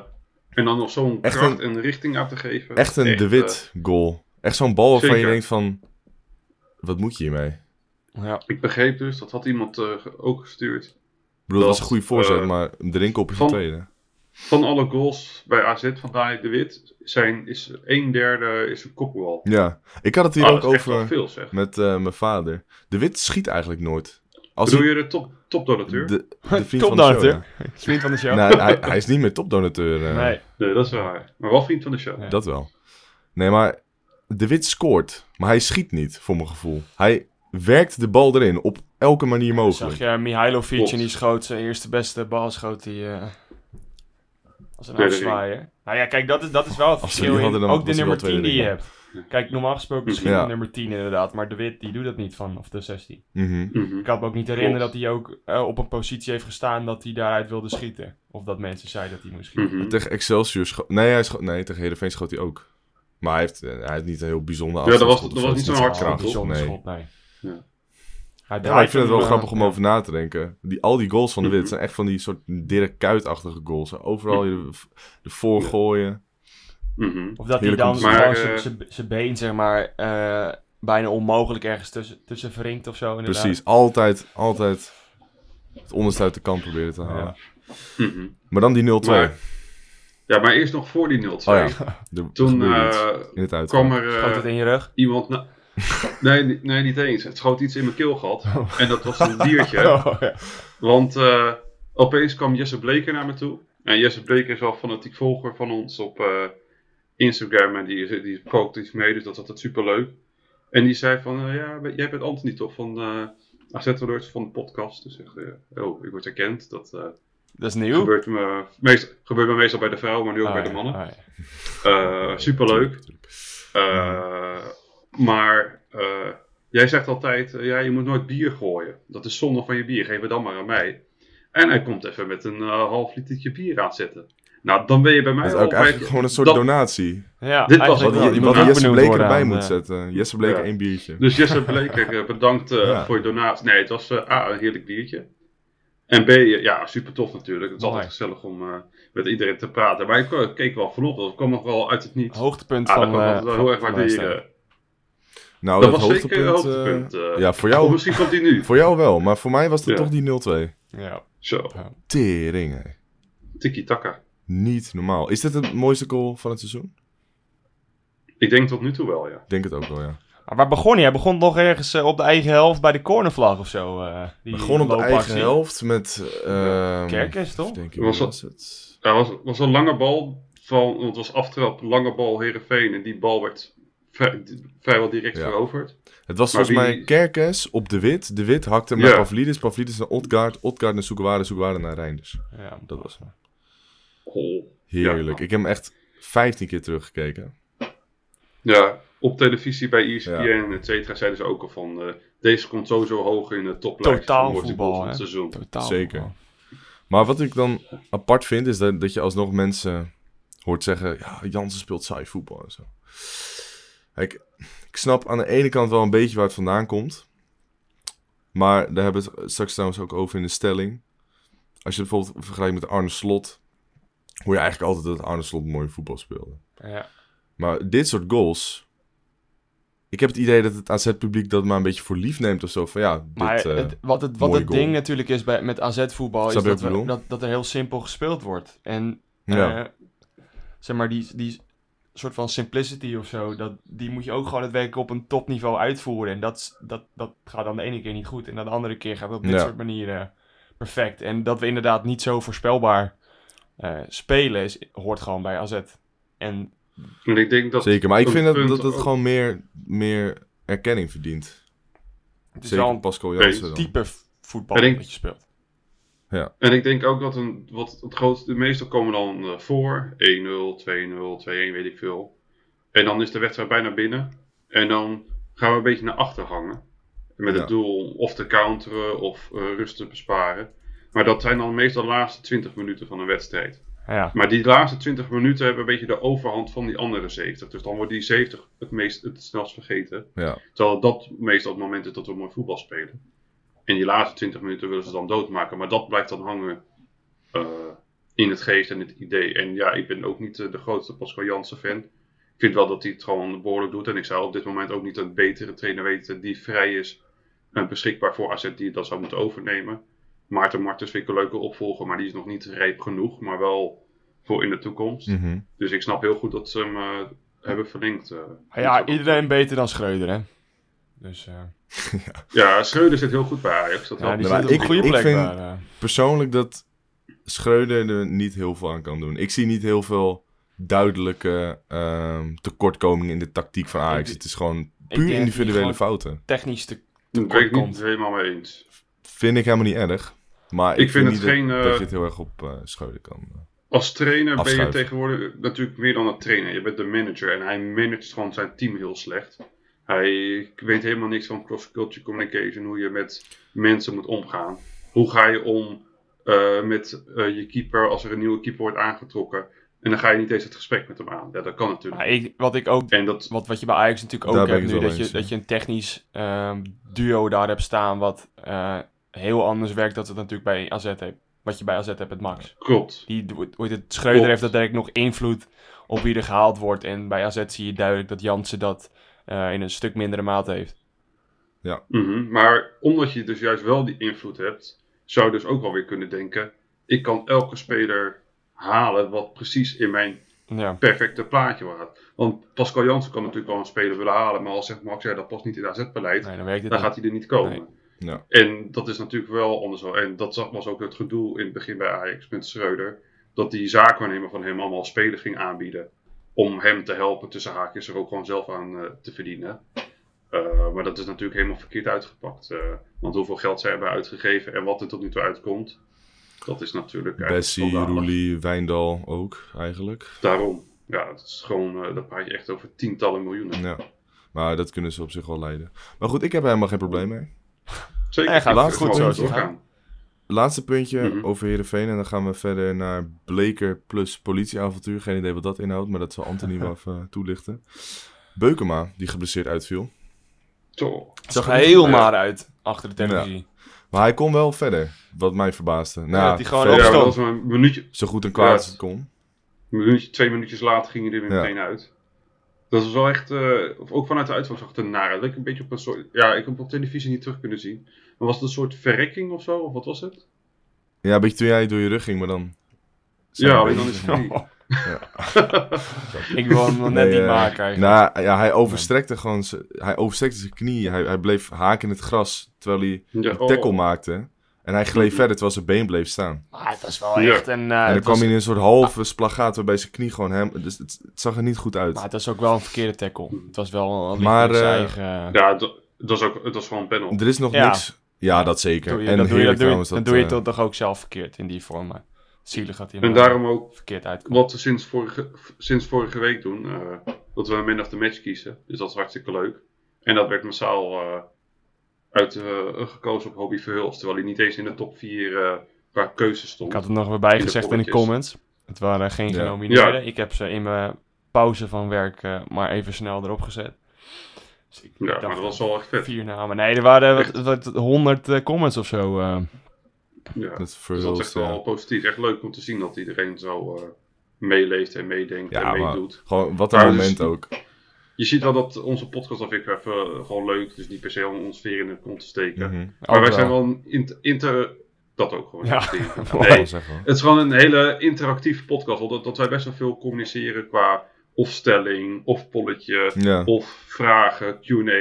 S7: en dan nog zo'n
S6: Echt
S7: kracht
S6: een-
S7: en richting aan te geven.
S6: echt een De Wit goal. Echt zo'n bal waarvan je
S7: eh, Zeker.
S6: denkt van, wat moet je hiermee? Ik
S8: Ja.
S7: eh, ik begreep dus, dat had iemand eh, ge- ook gestuurd.
S6: bedoel, dat
S7: Dat,
S6: was een goede voorzet,
S7: eh,
S6: maar de rinkop is de
S7: van-
S6: tweede.
S7: Van alle goals bij AZ van Dani de Wit zijn, is een derde is een kopbal.
S6: Ja, ik had het hier
S7: Ah,
S6: ook
S7: dat is echt wel
S6: over...
S7: veel, zeg.
S6: Met eh, mijn vader. De Wit schiet eigenlijk nooit. Als
S7: Bedoel
S6: hij-
S7: je de top, topdonateur?
S6: De, de vriend van de show,
S8: Topdonateur. Vriend van de
S6: ja.
S8: show.
S6: Nou, hij, hij is niet meer topdonateur. eh,
S8: Nee.
S7: Nee, dat is waar. Maar wel vriend van de show.
S8: Ja.
S6: Dat wel. Nee, maar De Wit scoort. Maar hij schiet niet, voor mijn gevoel. Hij werkt de bal erin op elke manier mogelijk.
S8: Zag je eh, Mihailovic
S7: Klopt.
S8: en die schoot zijn eerste beste bal, schoot die eh, als een
S7: Tweede ring.
S8: afzwaaier. Nou ja, kijk, dat is, dat is wel
S6: Als
S8: het
S6: we
S8: verschil
S6: die
S8: in-
S6: hadden, dan
S8: ook de
S6: was het
S8: nummer
S6: wel
S8: 10
S6: tweede
S8: die je
S6: ring.
S8: hebt. Kijk, normaal
S7: Hm.
S8: gesproken schiet
S6: Ja.
S8: de nummer 10 inderdaad, maar De Wit die doet dat niet vanaf de 16.
S6: Mhm.
S7: Mhm.
S8: Ik kan me ook niet herinneren
S7: Klopt.
S8: dat hij ook eh, op een positie heeft gestaan dat hij daaruit wilde schieten. Of dat mensen zeiden dat hij moest schieten.
S7: Mhm.
S6: Tegen Excelsior scho- Nee, hij scho- nee, tegen Heerenveen schoot hij ook. Maar hij heeft, eh, hij heeft niet een heel bijzonder
S7: Ja, dat was-
S6: afstandsschot of
S7: dat
S6: zo. Het is
S7: was niet zo'n
S6: zijn
S7: hard
S6: kracht.
S8: Bijzonder
S6: Nee.
S8: schot, nee.
S7: Ja.
S6: Ja, maar
S8: Hij
S6: ik
S8: draait
S6: vind het
S8: hem,
S6: wel
S8: eh,
S6: grappig om
S8: ja.
S6: over na te denken. Die, al die goals van de Wit
S7: Mhm.
S6: zijn echt van die soort Dirk Kuyt-achtige goals. Overal je de voorgooien.
S7: Mhm.
S8: Of dat hij
S6: Heerlijk om
S8: dan
S6: te
S7: zien.
S8: gewoon
S7: Maar, eh,
S8: zijn- zijn- zijn been, zeg maar, eh, bijna onmogelijk ergens tussen, tussen wringt of zo. Inderdaad.
S6: Precies. Altijd, altijd het onderste uit de kant proberen te halen.
S8: Ja.
S7: Mhm.
S6: Maar dan die 0-2.
S7: Maar- Ja, maar eerst nog voor die 0-2.
S6: oh ja. Er
S7: Toen
S6: gebeurde iets
S7: eh,
S6: in het uit.
S7: kwam er... eh,
S8: Schoot het in je rug.
S7: iemand. Na- nee, ni-
S6: Oh.
S8: Oh,
S7: nee, niet eens. Het schoot iets in mijn keel gehad. En dat was een diertje. Want eh, opeens kwam Jesse Bleker naar me toe. En Jesse Bleker is wel fanatiek volger van ons op eh, Instagram. En die, is- die kookt iets mee, dus dat is altijd superleuk. En die zei van, eh, ja, jij bent Anthony toch van eh AZ Alerts van de podcast. Dus ik zeg, eh, oh, ik word herkend. Dat eh,
S8: Dat is nieuw.
S7: gebeurt, me, meest, gebeurt me meestal bij de vrouwen, maar nu ook
S6: Ah,
S8: Oh,
S7: bij
S8: ja,
S7: de mannen.
S8: oh, ja.
S7: Eh, superleuk. Eh, Maar eh, jij zegt altijd, eh, ja, je moet nooit bier gooien. Dat is zonde van je bier, geef het dan maar aan mij. En hij komt even met een eh, half litertje bier aanzetten. Nou, dan ben je bij mij
S6: Dat is
S7: al
S6: ook
S7: bij-
S6: eigenlijk gewoon een soort
S7: dat-
S6: donatie.
S8: Ja,
S7: Dit was
S8: eigenlijk
S6: Wat,
S7: wel,
S8: wel.
S6: je,
S8: Die
S6: wat
S8: moet ook
S6: Jesse
S8: benoemd
S6: Bleker
S8: worden
S6: erbij
S8: aan,
S6: moet
S8: eh,
S6: zetten. Jesse Bleker
S7: ja.
S6: één biertje.
S7: Dus Jesse Bleker, eh, bedankt eh,
S6: Ja.
S7: voor je donatie. Nee, het was eh, A, een heerlijk biertje. En B, eh, ja, super tof natuurlijk. Het is
S8: Mooi.
S7: altijd gezellig om eh, met iedereen te praten. Maar ik eh, keek wel vanochtend, ik kwam nog wel uit het niets.
S8: Hoogtepunt
S7: Ah, dat
S8: van...
S7: kan ik
S8: eh,
S7: altijd wel heel erg
S8: van
S7: waarderen.
S8: luisteren.
S6: Nou,
S7: Dat,
S6: dat,
S7: was
S6: hoogtepunt.
S7: zeker een
S6: eh,
S7: hoogtepunt. eh.
S6: ja, voor
S7: Of
S6: jou,
S7: misschien komt die nu.
S6: voor jou wel, maar voor mij was het
S7: Ja.
S6: toch die 0-2.
S7: eh,
S8: Ja.
S7: Zo,
S6: Tering, hè.
S7: tiki-taka.
S6: Niet normaal. Is dit het mooiste goal van het seizoen?
S7: Ik denk tot nu toe wel, ja.
S6: Ik denk het ook wel, ja.
S8: Maar Ah, waar begon hij? Hij begon nog ergens eh, op de eigen helft bij de cornervlag of zo. eh, die
S6: Gewoon op de
S8: loopactie.
S6: eigen helft met... ehm
S8: Kerkers, toch?
S6: Denk ik,
S7: Was
S6: was, was
S7: dat-
S6: het?
S7: Er was, was een lange bal, van, want het was aftrap, lange bal Herenveen En die bal werd vrij- vrijwel direct
S6: Ja.
S7: veroverd.
S6: Het was
S7: Maar
S6: volgens mij
S7: wie-
S6: Kerkes op de wit. De wit hakte hem naar
S7: Ja.
S6: Pavlidis. Pavlidis naar Otgaard. Otgaard naar Soekwaarde. Soekwaarde naar Reinders.
S8: Ja,
S6: Dat was
S7: Oh.
S6: Heerlijk. Ik heb hem echt 15 keer teruggekeken.
S7: Ja, op televisie bij E ESPN
S6: Ja.
S7: en et cetera zeiden ze ook al van... eh, deze komt sowieso hoog in de toplijst
S8: Totaal
S7: van mooiste
S8: voetbal,
S7: goals van het
S8: hè?
S7: seizoen.
S8: Totaal.
S6: Zeker.
S8: man.
S6: Maar wat ik dan apart vind, is dat, dat je alsnog mensen hoort zeggen... Ja, Jansen speelt saai voetbal en zo. Kijk, ik snap aan de ene kant wel een beetje waar het vandaan komt. Maar daar hebben we het straks trouwens ook over in de stelling. Als je het bijvoorbeeld vergelijkt met Arne Slot... hoor je eigenlijk altijd dat Arne Slot mooi voetbal speelde.
S8: Ja.
S6: Maar dit soort goals... Ik heb het idee dat het AZ-publiek dat maar een beetje voor lief neemt of zo. Van ja, dit...
S8: Maar
S6: eh,
S8: het, wat het, wat
S6: mooie
S8: het
S6: goal.
S8: ding natuurlijk is bij, met AZ-voetbal, is
S6: Snap je
S8: dat,
S6: wat ik
S8: we-
S6: bedoel?
S8: dat, dat er heel simpel gespeeld wordt. En
S6: ja.
S8: eh, zeg maar, die, die soort van simplicity of zo, dat, die moet je ook gewoon het werk op een topniveau uitvoeren. En dat, is- dat, dat gaat dan de ene keer niet goed en dan de andere keer gaat dat op dit
S6: Ja.
S8: soort manieren perfect. En dat we inderdaad niet zo voorspelbaar eh, spelen, is, hoort gewoon bij AZ. En
S7: En ik denk dat...
S6: Zeker, maar ik
S7: een
S6: vind dat,
S7: punt
S6: dat het
S7: ook-
S6: gewoon meer, meer erkenning verdient.
S8: het is
S6: Zeker
S8: wel een
S6: Pascal Jansen dan.
S8: type voetbal
S7: Ik denk-
S8: dat je speelt.
S7: En ik denk ook dat een, wat het grootste, de meeste komen dan eh, voor. 1-0, 2-0, 2-1, weet ik veel. En dan is de wedstrijd bijna binnen. En dan gaan we een beetje naar achter hangen. Met het
S6: Ja.
S7: doel om of te counteren of eh, rust te besparen. Maar dat zijn dan meestal de laatste 20 minuten van een wedstrijd.
S8: Ja,
S7: Maar die laatste 20 minuten hebben een beetje de overhand van die andere 70. Dus dan wordt die 70 het, meest, het snelst vergeten.
S6: Ja.
S7: Terwijl dat meestal het moment is dat we mooi voetbal spelen. En die laatste 20 minuten willen ze dan doodmaken. Maar dat blijft dan hangen eh, in het geest en het idee. En ja, ik ben ook niet eh, de grootste Pascal Jansen fan. Ik vind wel dat hij het gewoon behoorlijk doet. En ik zou op dit moment ook niet een betere trainer weten die vrij is en beschikbaar voor AZ die dat zou moeten overnemen. Maarten Martens vind ik een leuke opvolger, maar die is nog niet rijp genoeg. Maar wel voor in de toekomst.
S6: Mhm.
S7: Dus ik snap heel goed dat ze hem eh, hebben verlengd. eh.
S8: Maar ja iedereen beter dan Schreuder, hè. Dus... eh,
S7: Ja, Schreuder zit heel goed bij Ajax. Dat
S8: Ja,
S7: helpt.
S8: die
S6: maar
S8: zit op een
S6: ik-
S8: goede
S6: ik
S8: plek
S6: vind-
S8: daar. eh.
S6: Persoonlijk dat Schreuder er niet heel veel aan kan doen. Ik zie niet heel veel duidelijke ehm, tekortkomingen in de tactiek van Ajax.
S8: Ik-
S6: Het is gewoon
S8: denk dat
S6: puur
S8: die
S6: individuele
S8: gewoon-
S6: fouten.
S8: Technisch te...
S7: Daar ben ik
S8: tekort
S7: niet
S8: komt.
S7: helemaal mee eens.
S6: Vind ik helemaal niet erg. Maar ik,
S7: Ik vind
S6: niet
S7: het geen,
S6: dat,
S7: eh,
S6: dat je het heel erg op eh, Schreuder kan.
S7: Als trainer ben je
S6: Afschuiven.
S7: tegenwoordig natuurlijk meer dan een trainer. Je bent de manager en hij managt gewoon zijn team heel slecht. Hij weet helemaal niks van cross-culture communication, hoe je met mensen moet omgaan. Hoe ga je om eh, met eh, je keeper als er een nieuwe keeper wordt aangetrokken? En dan ga je niet eens het gesprek met hem aan. Ja, dat kan natuurlijk.
S8: Maar ik, wat ik ook...
S7: En dat,
S8: Wat, wat je bij Ajax natuurlijk
S6: Daar
S8: ook
S6: ben ik
S8: hebt nu,
S6: het wel
S8: dat je,
S6: eens,
S8: dat je een technisch ehm, duo daar hebt staan wat eh, heel anders werkt dan het natuurlijk bij AZ heeft. Wat je bij AZ hebt met Max.
S7: klopt.
S8: Die, doet- hoe heet het, Schreuder
S7: Klopt.
S8: heeft natuurlijk nog invloed op wie er gehaald wordt. En bij AZ zie je duidelijk dat Jansen dat eh, in een stuk mindere mate heeft.
S7: Mhm, Maar omdat je dus juist wel die invloed hebt, zou je dus ook wel weer kunnen denken: ik kan elke speler halen wat precies in mijn
S8: Ja,
S7: perfecte plaatje had. Want Pascal Jansen kan natuurlijk wel een speler willen halen, maar als zegt Max, ja, dat past niet in het AZ-beleid,
S8: nee, dan werkt het
S7: dan
S8: niet.
S7: gaat hij er niet komen.
S6: Ja.
S7: En dat is natuurlijk wel anders. wel. En dat zag- was ook het gedoe in het begin bij Ajax met Schreuder. Dat die zaakwaarnemer van hem allemaal spelers ging aanbieden. Om hem te helpen tussen haakjes er ook gewoon zelf aan eh, te verdienen. Eh, maar dat is natuurlijk helemaal verkeerd uitgepakt. eh, want hoeveel geld zij hebben uitgegeven en wat er tot nu toe uitkomt. Dat is natuurlijk eigenlijk
S6: Bessie,
S7: schandalig.
S6: Roelie, Wijndal ook eigenlijk.
S7: Daarom. Ja, dat is gewoon, eh daar praat je echt over tientallen miljoenen.
S6: Ja. Maar dat kunnen ze op zich wel leiden. Maar goed, ik heb er helemaal geen probleem mee.
S7: Zeker.
S8: Ja, gaat
S7: Ik
S6: goed
S7: vind het
S6: zo
S7: wel
S6: is het
S7: doorgaan.
S6: Laatste puntje
S7: Mhm.
S6: over Heerenveen. En dan gaan we verder naar Bleker plus politieavontuur. Geen idee wat dat inhoudt, maar dat zal Anthony wel even eh, toelichten. Beukema, die geblesseerd uitviel.
S7: Zo.
S8: zag er heel maar uit achter de televisie.
S6: Maar hij kon wel verder, wat mij verbaasde. Nou,
S8: dat hij gewoon
S6: verder,
S7: Ja,
S8: opstond.
S7: dat was maar een minuutje,
S6: zo goed en kwaad
S7: Ja.
S6: als het kon.
S7: een minuutje, twee minuutjes later ging hij er weer
S6: Ja.
S7: meteen uit. Dat was wel echt, eh, of ook vanuit de uitval zag het er naar. uit. Leek een beetje op een soort, ja, ik heb op televisie niet terug kunnen zien. Maar was het een soort verrekking of zo, of wat was het?
S6: Ja, een beetje toen jij door je rug ging, maar dan...
S7: ja, alleen dan is het niet.
S8: Ik wil hem nog net
S6: Nee,
S8: niet
S6: eh,
S8: maken eigenlijk.
S6: Nou, ja, hij overstrekte gewoon z- hij overstrekte zijn knie. Hij, hij bleef haken in het gras, terwijl hij
S7: Ja,
S6: een
S7: oh. Mhm.
S6: tackle maakte. En hij gleed verder, terwijl zijn been bleef staan.
S8: Maar het was wel
S7: Ja.
S8: echt een... eh,
S6: en dan
S8: het
S6: kwam
S8: was-
S6: hij in een soort halve splagaat, waarbij zijn knie gewoon hem... Dus het, het zag er niet goed uit.
S8: Maar het was ook wel een verkeerde tackle. Het was wel een
S6: Maar,
S8: maar, zijn
S6: eh,
S8: eigen...
S7: Ja, dat, dat is ook, dat is gewoon een panel.
S6: Er is nog
S8: Ja.
S6: niks... Ja, dat zeker.
S8: doe je,
S6: en
S8: dat doe je,
S6: heerlijk
S8: dat doe je,
S6: trouwens.
S8: dan doe je
S6: eh,
S8: het toch ook zelf verkeerd in die vorm. maar Zielig dat hij hem
S7: En daarom ook
S8: verkeerd uitkomt.
S7: wat we sinds vorige, sinds vorige week doen. eh, dat we min of the match kiezen. Dus dat is hartstikke leuk. En dat werd massaal eh, uit eh, gekozen op Hobby Verhulst. Terwijl hij niet eens in de top 4 eh qua keuze stond.
S8: Ik had het nog weer bijgezegd in de
S7: polletjes.
S8: comments. Het waren geen
S6: Ja.
S8: genomineerden. Ik heb ze in mijn pauze van werk eh, maar even snel erop gezet. Dus ik
S7: Ja,
S8: dacht
S7: maar dat was wel echt vet.
S8: vier namen. Nee, er waren wat,
S7: Echt.
S8: wat 100 eh, comments of zo. eh.
S7: Ja.
S6: Dat
S7: Dus dat is echt
S6: Verhulst, eh, ja.
S7: wel positief. Echt leuk om te zien dat iedereen zo eh, meeleeft en meedenkt
S6: Ja,
S7: en
S6: maar
S7: meedoet.
S6: gewoon wat een
S7: Maar dus-
S6: moment ook.
S7: Je ziet wel dat onze podcast, dat vind ik even eh, gewoon leuk. Dus niet per se om ons veer in de kont te steken.
S6: Mhm.
S7: Maar wij
S8: Ook
S7: zijn
S8: wel.
S7: wel een inter... inter dat ook gewoon.
S8: Ja.
S6: Dat
S7: Nee,
S6: wil zeggen, hoor.
S7: Het is gewoon een hele interactieve podcast. Dat, dat wij best wel veel communiceren qua of stelling, of polletje,
S6: Ja.
S7: of vragen, Q&A.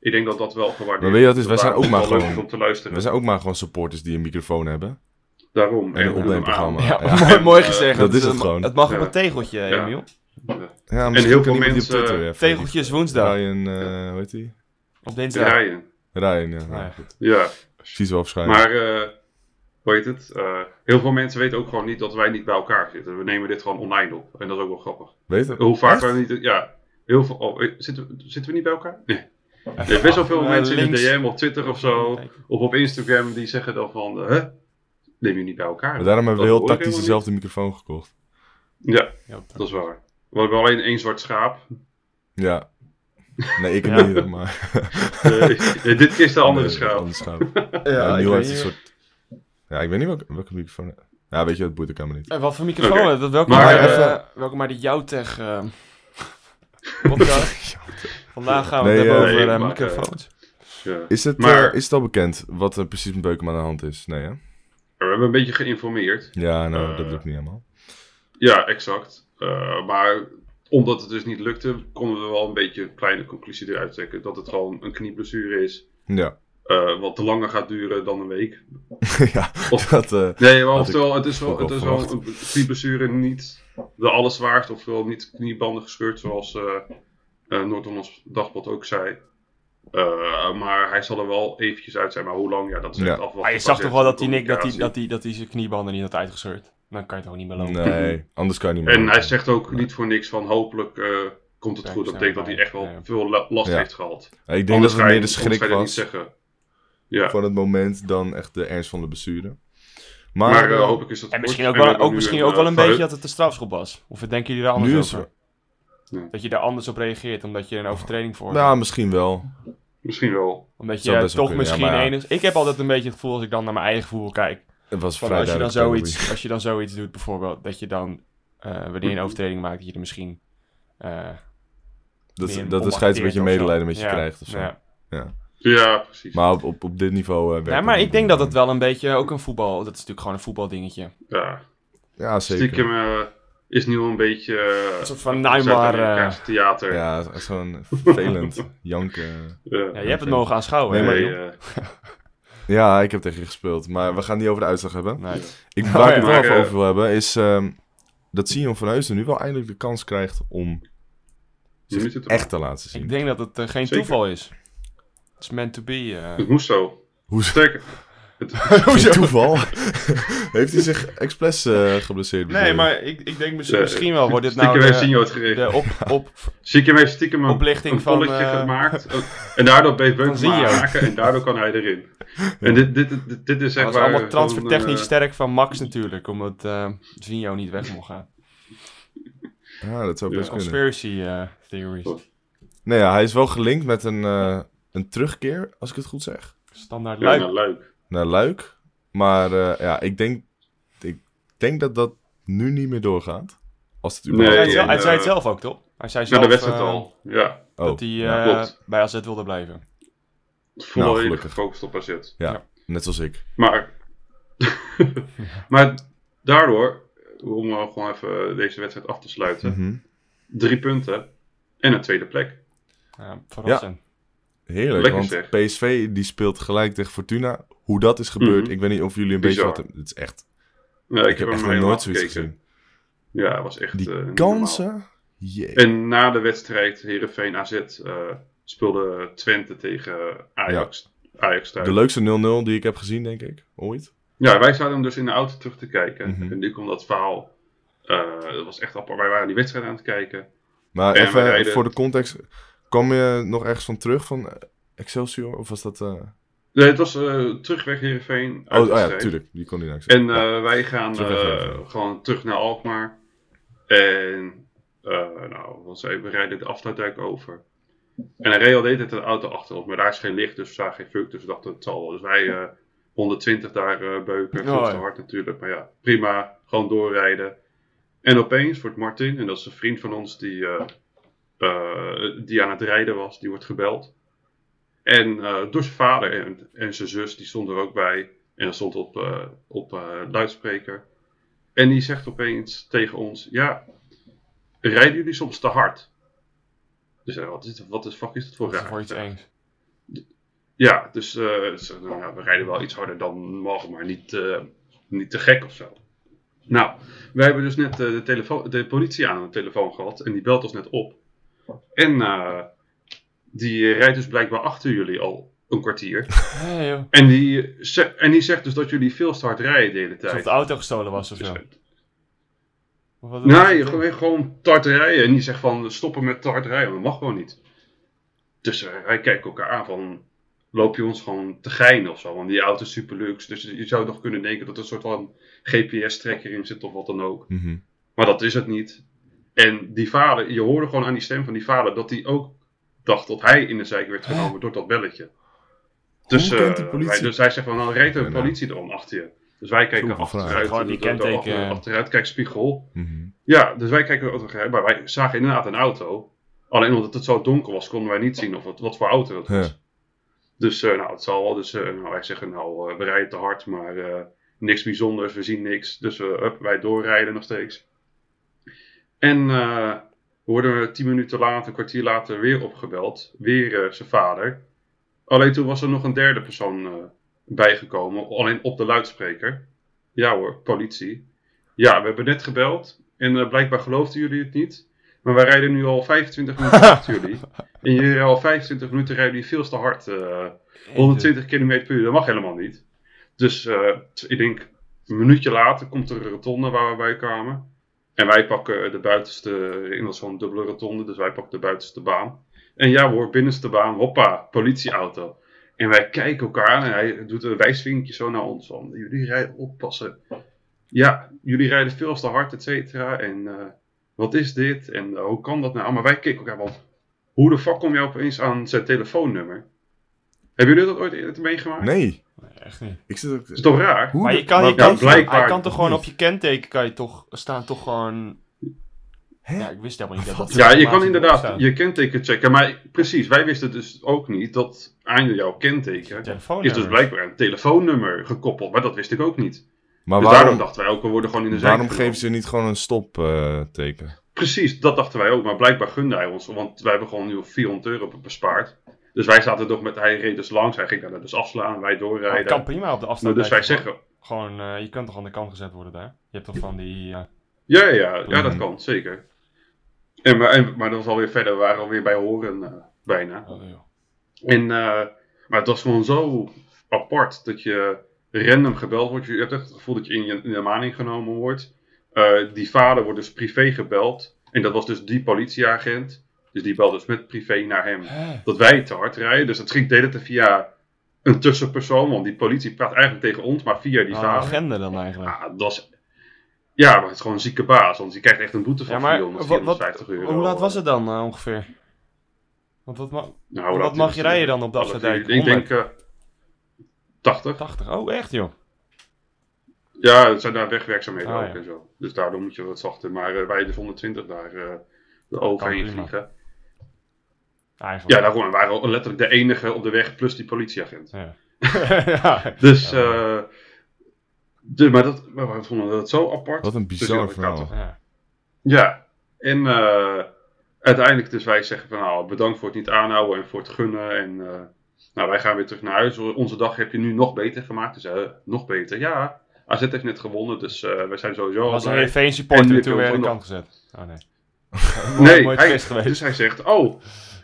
S7: Ik denk dat dat wel gewaardeerd
S6: Maar weet je wat het is? Wij zijn
S7: Daarom
S6: ook maar
S7: het wel leuk
S6: gewoon-
S7: om te luisteren.
S6: We zijn ook maar gewoon supporters die een microfoon hebben.
S7: Daarom.
S6: En een
S7: doen hem
S6: opneemprogramma.
S7: aan.
S8: Ja,
S6: Ja.
S8: mooi, mooi
S7: Eh,
S8: gezegd.
S6: dat is
S8: eh,
S6: het gewoon.
S8: Het mag op
S7: Ja.
S8: een tegeltje,
S7: Ja.
S8: Emiel.
S6: Ja, misschien
S7: heel
S6: kan
S7: veel
S6: iemand die op
S7: mensen,
S8: eh,
S6: Twitter even-
S8: Tegeltjes woensdag.
S6: Ryan, eh hoe heet hij?
S8: Op dinsdag.
S7: Ryan.
S6: Ryan, ja. Nou,
S8: Ja.
S6: goed.
S7: Ja,
S6: Precies wel waarschijnlijk.
S7: maar eh, hoe heet het? Eh, heel veel mensen weten ook gewoon niet dat wij niet bij elkaar zitten. We nemen dit gewoon online op. En dat is ook wel grappig.
S6: Weet je?
S7: Hoe vaak
S6: Echt?
S7: we niet... Ja, heel veel... oh, eh, zitten, we- zitten we niet bij elkaar? Nee. Er best wel veel
S8: Eh,
S7: mensen
S8: links.
S7: in de DM op Twitter of zo,
S8: Even kijken.
S7: of op Instagram, die zeggen dan van, hè, neem je niet bij elkaar.
S6: Maar daarom hebben we
S7: Dat
S6: heel
S7: hoor ik
S6: tactisch
S7: helemaal
S6: dezelfde microfoon gekocht.
S7: niet. Ja,
S8: Ja, op-
S7: dat is waar. We hebben alleen één zwart schaap.
S6: Ja. Nee, ik heb
S8: Ja.
S6: niet, maar...
S7: Eh, dit keer is de andere
S6: Nee,
S7: schaap.
S6: andere schaap. Ja, Niel heeft een soort... Ja, ik weet niet welke, welke microfoon... Ja, weet je, dat boeit ook helemaal niet.
S8: Eh, wat voor microfoon?
S7: Oké.
S8: Dat, welke,
S7: Maar,
S8: maar,
S6: eh,
S8: welke maar de Jouwtech eh, podcast. Vandaag gaan we
S6: Nee,
S8: het
S6: eh,
S8: hebben over
S7: nee,
S8: eh,
S7: maar, eh,
S8: microfoons.
S7: Ja.
S6: Is het, eh,
S7: Maar-
S6: is het al bekend wat er precies met Beukema aan de hand is? Nee, hè?
S7: We hebben een beetje geïnformeerd.
S6: Ja, nou, dat
S7: Eh.
S6: lukt niet helemaal.
S7: Ja, exact. Eh, maar omdat het dus niet lukte, konden we wel een beetje een kleine conclusie eruit trekken. Dat het gewoon een knieblessure is,
S6: Ja.
S7: eh, wat te langer gaat duren dan een week.
S6: ja,
S7: Of-
S6: dat... eh,
S7: Nee, maar
S6: Had
S7: oftewel, het is wel,
S6: ook wel
S7: het is wel een
S6: verwacht.
S7: knieblessure niet de allerzwaarste, oftewel niet kniebanden gescheurd, zoals eh eh, Noord-Hollands Dagblad ook zei. Eh, maar hij zal er wel eventjes uit zijn, maar hoe lang? Ja, dat is echt
S6: Ja.
S7: afwachten.
S8: Maar je zag toch wel dat hij, Nick, dat, hij,
S7: Communicatie.
S8: dat, hij, dat hij zijn kniebanden niet had uitgescheurd. Dan kan je toch niet meer lopen.
S6: Nee, anders kan je niet meer.
S7: En hij zegt ook niet voor niks van hopelijk eh, komt het
S8: Ja,
S7: goed. Dat betekent
S8: ik snap
S7: dat hij
S8: het,
S7: echt wel
S8: ja.
S7: veel la- last
S6: Ja.
S7: heeft gehad.
S6: Ja, Ik denk
S7: Anders
S6: dat
S7: ga
S6: het
S7: je-
S6: meer de
S7: anders
S6: schrik
S7: ga je dat
S6: was
S7: niet zeggen. Ja,
S6: van het moment dan echt de ernst van de blessure. Maar,
S7: maar eh,
S6: eh,
S7: hoop ik is dat
S8: En
S7: kort.
S8: misschien ook
S7: we
S8: wel,
S7: hebben
S8: ook,
S7: nu
S8: misschien ook wel een
S7: eh,
S8: beetje dat het een strafschop was. Of denken jullie daar anders
S6: Nu is
S8: over?
S7: Nee.
S8: Dat je daar anders op reageert, omdat je een overtreding voor
S6: nou, misschien wel.
S7: Misschien wel.
S8: Omdat
S6: zou
S8: je
S6: best wel
S8: toch
S6: kunnen, ja,
S8: misschien
S6: maar ja.
S8: enig... Ik heb altijd een beetje het gevoel als ik dan naar mijn eigen gevoel kijk.
S6: Het was
S8: Van
S6: vrij
S8: als, je dan
S6: duidelijk.
S8: zoiets, als je dan zoiets doet bijvoorbeeld, dat je dan, eh, wanneer je een overtreding maakt, dat je er misschien... eh, meer
S6: dat,
S8: om
S6: dat de scheids een beetje
S8: acteert of zo.
S6: medelijden met je
S8: Ja,
S6: krijgt of zo.
S8: ja.
S7: Ja, precies.
S6: Maar op, op, op dit niveau eh, werkt
S8: Nee, maar
S6: niet
S8: ik denk dat
S6: meer.
S8: het wel een beetje ook een voetbal... Dat is natuurlijk gewoon een voetbaldingetje.
S7: ja.
S6: Ja, zeker.
S7: Stiekem eh, is nu al een beetje... eh,
S8: Een soort van Neymar... eh,
S7: Zuid-Amerikaanse theater. Ja.
S6: Ja, het is gewoon vervelend. Janken.
S8: ja, je hebt het mogen aanschouwen.
S6: Nee,
S8: hè?
S6: maar-
S7: Nee, eh,
S6: Ja, ik heb tegen je gespeeld. Maar we gaan het niet over de uitslag hebben.
S8: Nee.
S6: Ik, waar
S8: Oh,
S6: ik het
S7: ja.
S6: wel
S7: Maar,
S6: even
S7: eh,
S6: over wil hebben, is ehm, dat Sion van Heusden nu wel eindelijk de kans krijgt om
S7: Je moet het
S6: echt te laten zien.
S8: Ik denk dat het eh, geen
S7: Zeker.
S8: toeval is. It's meant to be. eh.
S7: Het moest zo.
S6: Hoe
S7: Sterker. Het,
S6: Geen toeval. Heeft hij zich expres eh, geblesseerd? bedoel
S8: Nee,
S6: je?
S8: maar ik, ik denk misschien, Dus misschien wel wordt dit
S7: Stiekem
S8: nou
S7: heeft Sinjo
S8: de,
S7: het geregeld.
S8: de op, op...
S7: Stiekem heeft stiekem een,
S8: Oplichting
S7: een
S8: van,
S7: polletje
S8: eh,
S7: gemaakt. En daardoor bleef Beukema
S8: Zinjo.
S7: maken en daardoor kan hij erin. En dit, dit, dit, dit is echt
S8: was
S7: waar,
S8: allemaal
S7: eh,
S8: transfertechnisch
S7: gewoon, eh,
S8: sterk van Max natuurlijk, omdat eh Zinjo niet weg mocht gaan.
S6: Ja, dat zou
S7: Ja.
S6: best kunnen.
S8: Conspiracy eh, theories.
S6: Nee, ja, hij is wel gelinkt met een, eh, een terugkeer, als ik het goed zeg.
S8: Standaard
S7: ja,
S8: luik.
S7: nou, leuk.
S6: naar Luik. Maar eh, ja, ik denk, ik denk dat dat nu niet meer doorgaat. Als het
S8: Hij,
S6: überhaupt...
S8: zei het zelf,
S7: en,
S8: hij zei het
S7: eh,
S8: zelf ook, toch? Hij zei
S7: Ja,
S8: zelf
S7: de wedstrijd
S8: eh,
S7: al. Ja,
S6: Oh,
S8: dat hij
S6: ja.
S8: eh,
S7: klopt.
S8: bij AZ wilde blijven.
S7: volledig
S6: Nou, gelukkig.
S7: gefocust op AZ.
S6: Ja,
S8: ja.
S6: net zoals ik.
S7: Maar, maar daardoor, om eh, gewoon even deze wedstrijd af te sluiten,
S6: Mhm.
S7: drie punten en een tweede plek.
S8: Ja, verrassend.
S6: Heerlijk,
S7: Lekker
S6: want
S7: zeg.
S6: PSV die speelt gelijk tegen Fortuna. Hoe dat is gebeurd,
S7: Mhm.
S6: ik weet niet of jullie een
S7: Bizar.
S6: beetje... Wat, het is echt,
S7: Ja,
S6: ik, heb echt nog nooit zoiets gezien.
S7: Ja, het was echt
S6: Die
S7: eh, niet normaal.
S6: kansen? Jee.
S7: En na de wedstrijd Herenveen AZ eh, speelde Twente tegen Ajax. Ajax thuis.
S6: De leukste 0-0 die ik heb gezien, denk ik. Ooit.
S7: Ja, wij zaten hem dus in de auto terug te kijken.
S6: Mhm.
S7: En nu komt dat verhaal. eh, dat was echt apart. Wij waren die wedstrijd aan het kijken.
S6: Maar
S7: En
S6: even
S7: we rijden-
S6: voor de context. Kwam je nog ergens van terug van eh, Excelsior? Of was dat... eh,
S7: Nee, het was eh, terugweg Herenveen.
S6: Oh, oh ja, tuurlijk. Die kon niet naar
S7: En
S6: Excelsior. Ja.
S7: eh, wij gaan
S6: Terugweg
S7: eh,
S6: Heerenveen.
S7: gewoon terug naar Alkmaar. En eh nou, wat zei, ik, we rijden de afsluitdijk over. En hij reed al deed het een auto achter ons, maar daar is geen licht, dus we zagen geen fuck, dus we dachten het zal wel. Dus wij eh, 120 daar eh, beuken, veel
S8: Oh,
S7: te
S8: ja.
S7: hard natuurlijk, maar ja, prima, gewoon doorrijden. En opeens wordt Martin, en dat is een vriend van ons die, eh, eh, die aan het rijden was, die wordt gebeld. En eh, door zijn vader en, en zijn zus, die stonden er ook bij. En dat stond op, eh, op eh, luidspreker. En die zegt opeens tegen ons: Ja, rijden jullie soms te hard? Dus eh, wat, is, wat de fuck is dat voor
S8: Dat is
S7: raar?
S8: voor iets engs.
S7: Ja, dus eh, ze- nou ja, we rijden wel iets harder dan mogen, maar niet, eh, niet te gek of zo. Nou, wij hebben dus net eh, de, telefoon, de politie aan de telefoon gehad en die belt ons net op. En eh, die rijdt dus blijkbaar achter jullie al een kwartier.
S8: Nee joh.
S7: En die, ze- en die zegt dus dat jullie veel te hard rijden de hele
S8: Alsof
S7: tijd. Dus
S8: de auto gestolen was of zo. Of wat-
S7: Nee, gewoon, gewoon te hard rijden. En die zegt van stoppen met te hard rijden, dat mag gewoon niet. Dus eh, wij kijken elkaar aan van loop je ons gewoon te geinen of zo. Want die auto is super luxe. Dus je zou toch kunnen denken dat er een soort van GPS-trekker in zit of wat dan ook.
S6: Mhm.
S7: Maar dat is het niet. En die vader, je hoorde gewoon aan die stem van die vader dat hij ook dacht dat hij in de zeik werd genomen door dat belletje. Dus,
S6: Hoe kent
S7: eh,
S6: die politie?
S7: wij- dus hij zegt van, dan reed de
S6: Ja, nou.
S7: politie erom achter je. Dus wij kijken
S6: Zo'n
S7: achteruit.
S6: vraag.
S8: Gewoon die
S7: door de
S8: kenteken. eh.
S7: achter- Achteruit, kijk spiegel.
S6: Mhm.
S7: Ja, dus wij kijken achteruit, maar wij zagen inderdaad een auto. Alleen omdat het zo donker was, konden wij niet zien of het, wat voor auto het was.
S6: Ja.
S7: Dus eh, nou, het zal wel. Dus eh, nou, wij zeggen, nou, eh, we rijden te hard, maar eh, niks bijzonders, we zien niks. Dus eh, hup, wij doorrijden nog steeds. En eh worden we tien minuten later, een kwartier later weer opgebeld. Weer eh, zijn vader. Alleen toen was er nog een derde persoon eh, bijgekomen, alleen op de luidspreker. Ja hoor, politie. Ja, we hebben net gebeld en eh, blijkbaar geloofden jullie het niet. Maar wij rijden nu al 25 minuten achter jullie. En jullie rijden al 25 minuten rijden jullie veel te hard. eh, 120 km per uur, dat mag helemaal niet. Dus eh, t- ik denk, een minuutje later komt er een rotonde waar we bij kwamen. En wij pakken de buitenste, eh, in dat is zo'n dubbele rotonde, dus wij pakken de buitenste baan. En ja hoor, binnenste baan, hoppa, politieauto. En wij kijken elkaar aan en hij doet een wijsvinkje zo naar ons. Van, jullie rijden oppassen. Ja, jullie rijden veel te hard, et cetera. En eh, wat is dit? En eh, hoe kan dat nou? Maar wij keken elkaar, want hoe de fuck kom je opeens aan zijn telefoonnummer? Hebben jullie dat ooit eerder meegemaakt?
S6: Nee,
S8: Echt niet.
S6: ik zit ook...
S7: Dat is toch raar?
S6: Hoe
S8: Maar
S6: de-
S8: je kan, je
S6: maar-
S7: Ja,
S8: kan,
S7: blijkbaar
S8: hij kan toch gewoon
S6: niet.
S8: op je kenteken kan je toch, staan toch gewoon...
S6: Hè?
S8: Ja, ik wist helemaal niet dat dat
S7: Ja, je kan
S8: informatie
S7: inderdaad
S8: erop
S7: je kenteken checken. Maar precies, wij wisten dus ook niet dat aan jouw kenteken
S8: staat.
S7: is dus blijkbaar een telefoonnummer gekoppeld. Maar dat wist ik ook niet. Dus
S6: Maar
S7: daarom
S6: waarom,
S7: dachten wij ook, we worden gewoon in de zijk.
S6: waarom
S7: genomen.
S6: geven ze niet gewoon een stopteken?
S7: Precies, dat dachten wij ook. Maar blijkbaar gunde hij ons. Want wij hebben gewoon nu 400 euro bespaard. Dus wij zaten nog met, hij reed dus langs, hij ging daar dus afslaan, wij doorrijden.
S8: Het kan prima op de
S7: Nou,
S8: afstand.
S7: dus wij
S8: blijven.
S7: zeggen,
S8: Gewoon, eh, je kunt toch aan de kant gezet worden daar? Je hebt toch van die... eh,
S7: ja, ja, ja, ja, dat kan, zeker. En, maar- en, maar dat was alweer verder, we waren alweer bij Horen eh, bijna.
S8: oh, joh.
S7: En, eh, maar het was gewoon zo apart dat je random gebeld wordt. Je hebt echt het gevoel dat je in je, in je maan ingenomen wordt. Eh, die vader wordt dus privé gebeld. En dat was dus die politieagent. Dus die belde dus met privé naar hem. Dat wij te hard rijden. Dus dat ging deden te via een tussenpersoon. Want die politie praat eigenlijk tegen ons, maar via die
S8: Ah, een
S7: vader.
S8: agenda dan eigenlijk.
S7: Ja, dat is, ja, maar het is gewoon een zieke baas. Want je krijgt echt een boete van
S8: Ja, maar
S7: 400,
S8: wat- wat-
S7: 450 euro.
S8: Hoe laat was het dan eh, ongeveer? Want wat, ma-
S7: Nou,
S8: wat
S7: laat-
S8: mag je rijden dan op de afsluitdijk?
S7: Ik denk
S8: 180.
S7: eh 80.
S8: Oh, echt joh.
S7: Ja, het zijn daar wegwerkzaamheden
S8: Ah,
S7: ook
S8: ja.
S7: en zo. Dus daardoor moet je wat zachter. Maar eh, wij de 120 daar eh de overheen
S8: prima.
S7: vliegen. Ja,
S8: Eigenlijk.
S7: daarom en waren we letterlijk de enige op de weg plus die politieagent.
S8: Ja. ja.
S7: Dus, eh
S8: Ja.
S7: de, maar, dat, maar we vonden dat zo apart.
S6: Wat een
S7: Dus
S6: bizar
S7: ja, dat gaat
S6: verhaal.
S7: toch.
S8: Ja.
S7: Ja, en eh, uiteindelijk dus wij zeggen van nou, bedankt voor het niet aanhouden en voor het gunnen. En eh, nou, wij gaan weer terug naar huis. Onze dag heb je nu nog beter gemaakt. Dus eh, nog beter, ja. AZ heeft net gewonnen, dus eh, wij zijn sowieso al
S8: was een
S7: blij.
S8: Heerenveen
S7: En
S8: supporter
S7: nu
S8: en toen weer aan
S7: hebben
S8: de
S7: we
S8: kant gezet. Oh nee.
S7: Nee,
S8: mooi
S7: hij,
S8: feest geweest.
S7: dus hij zegt, oh,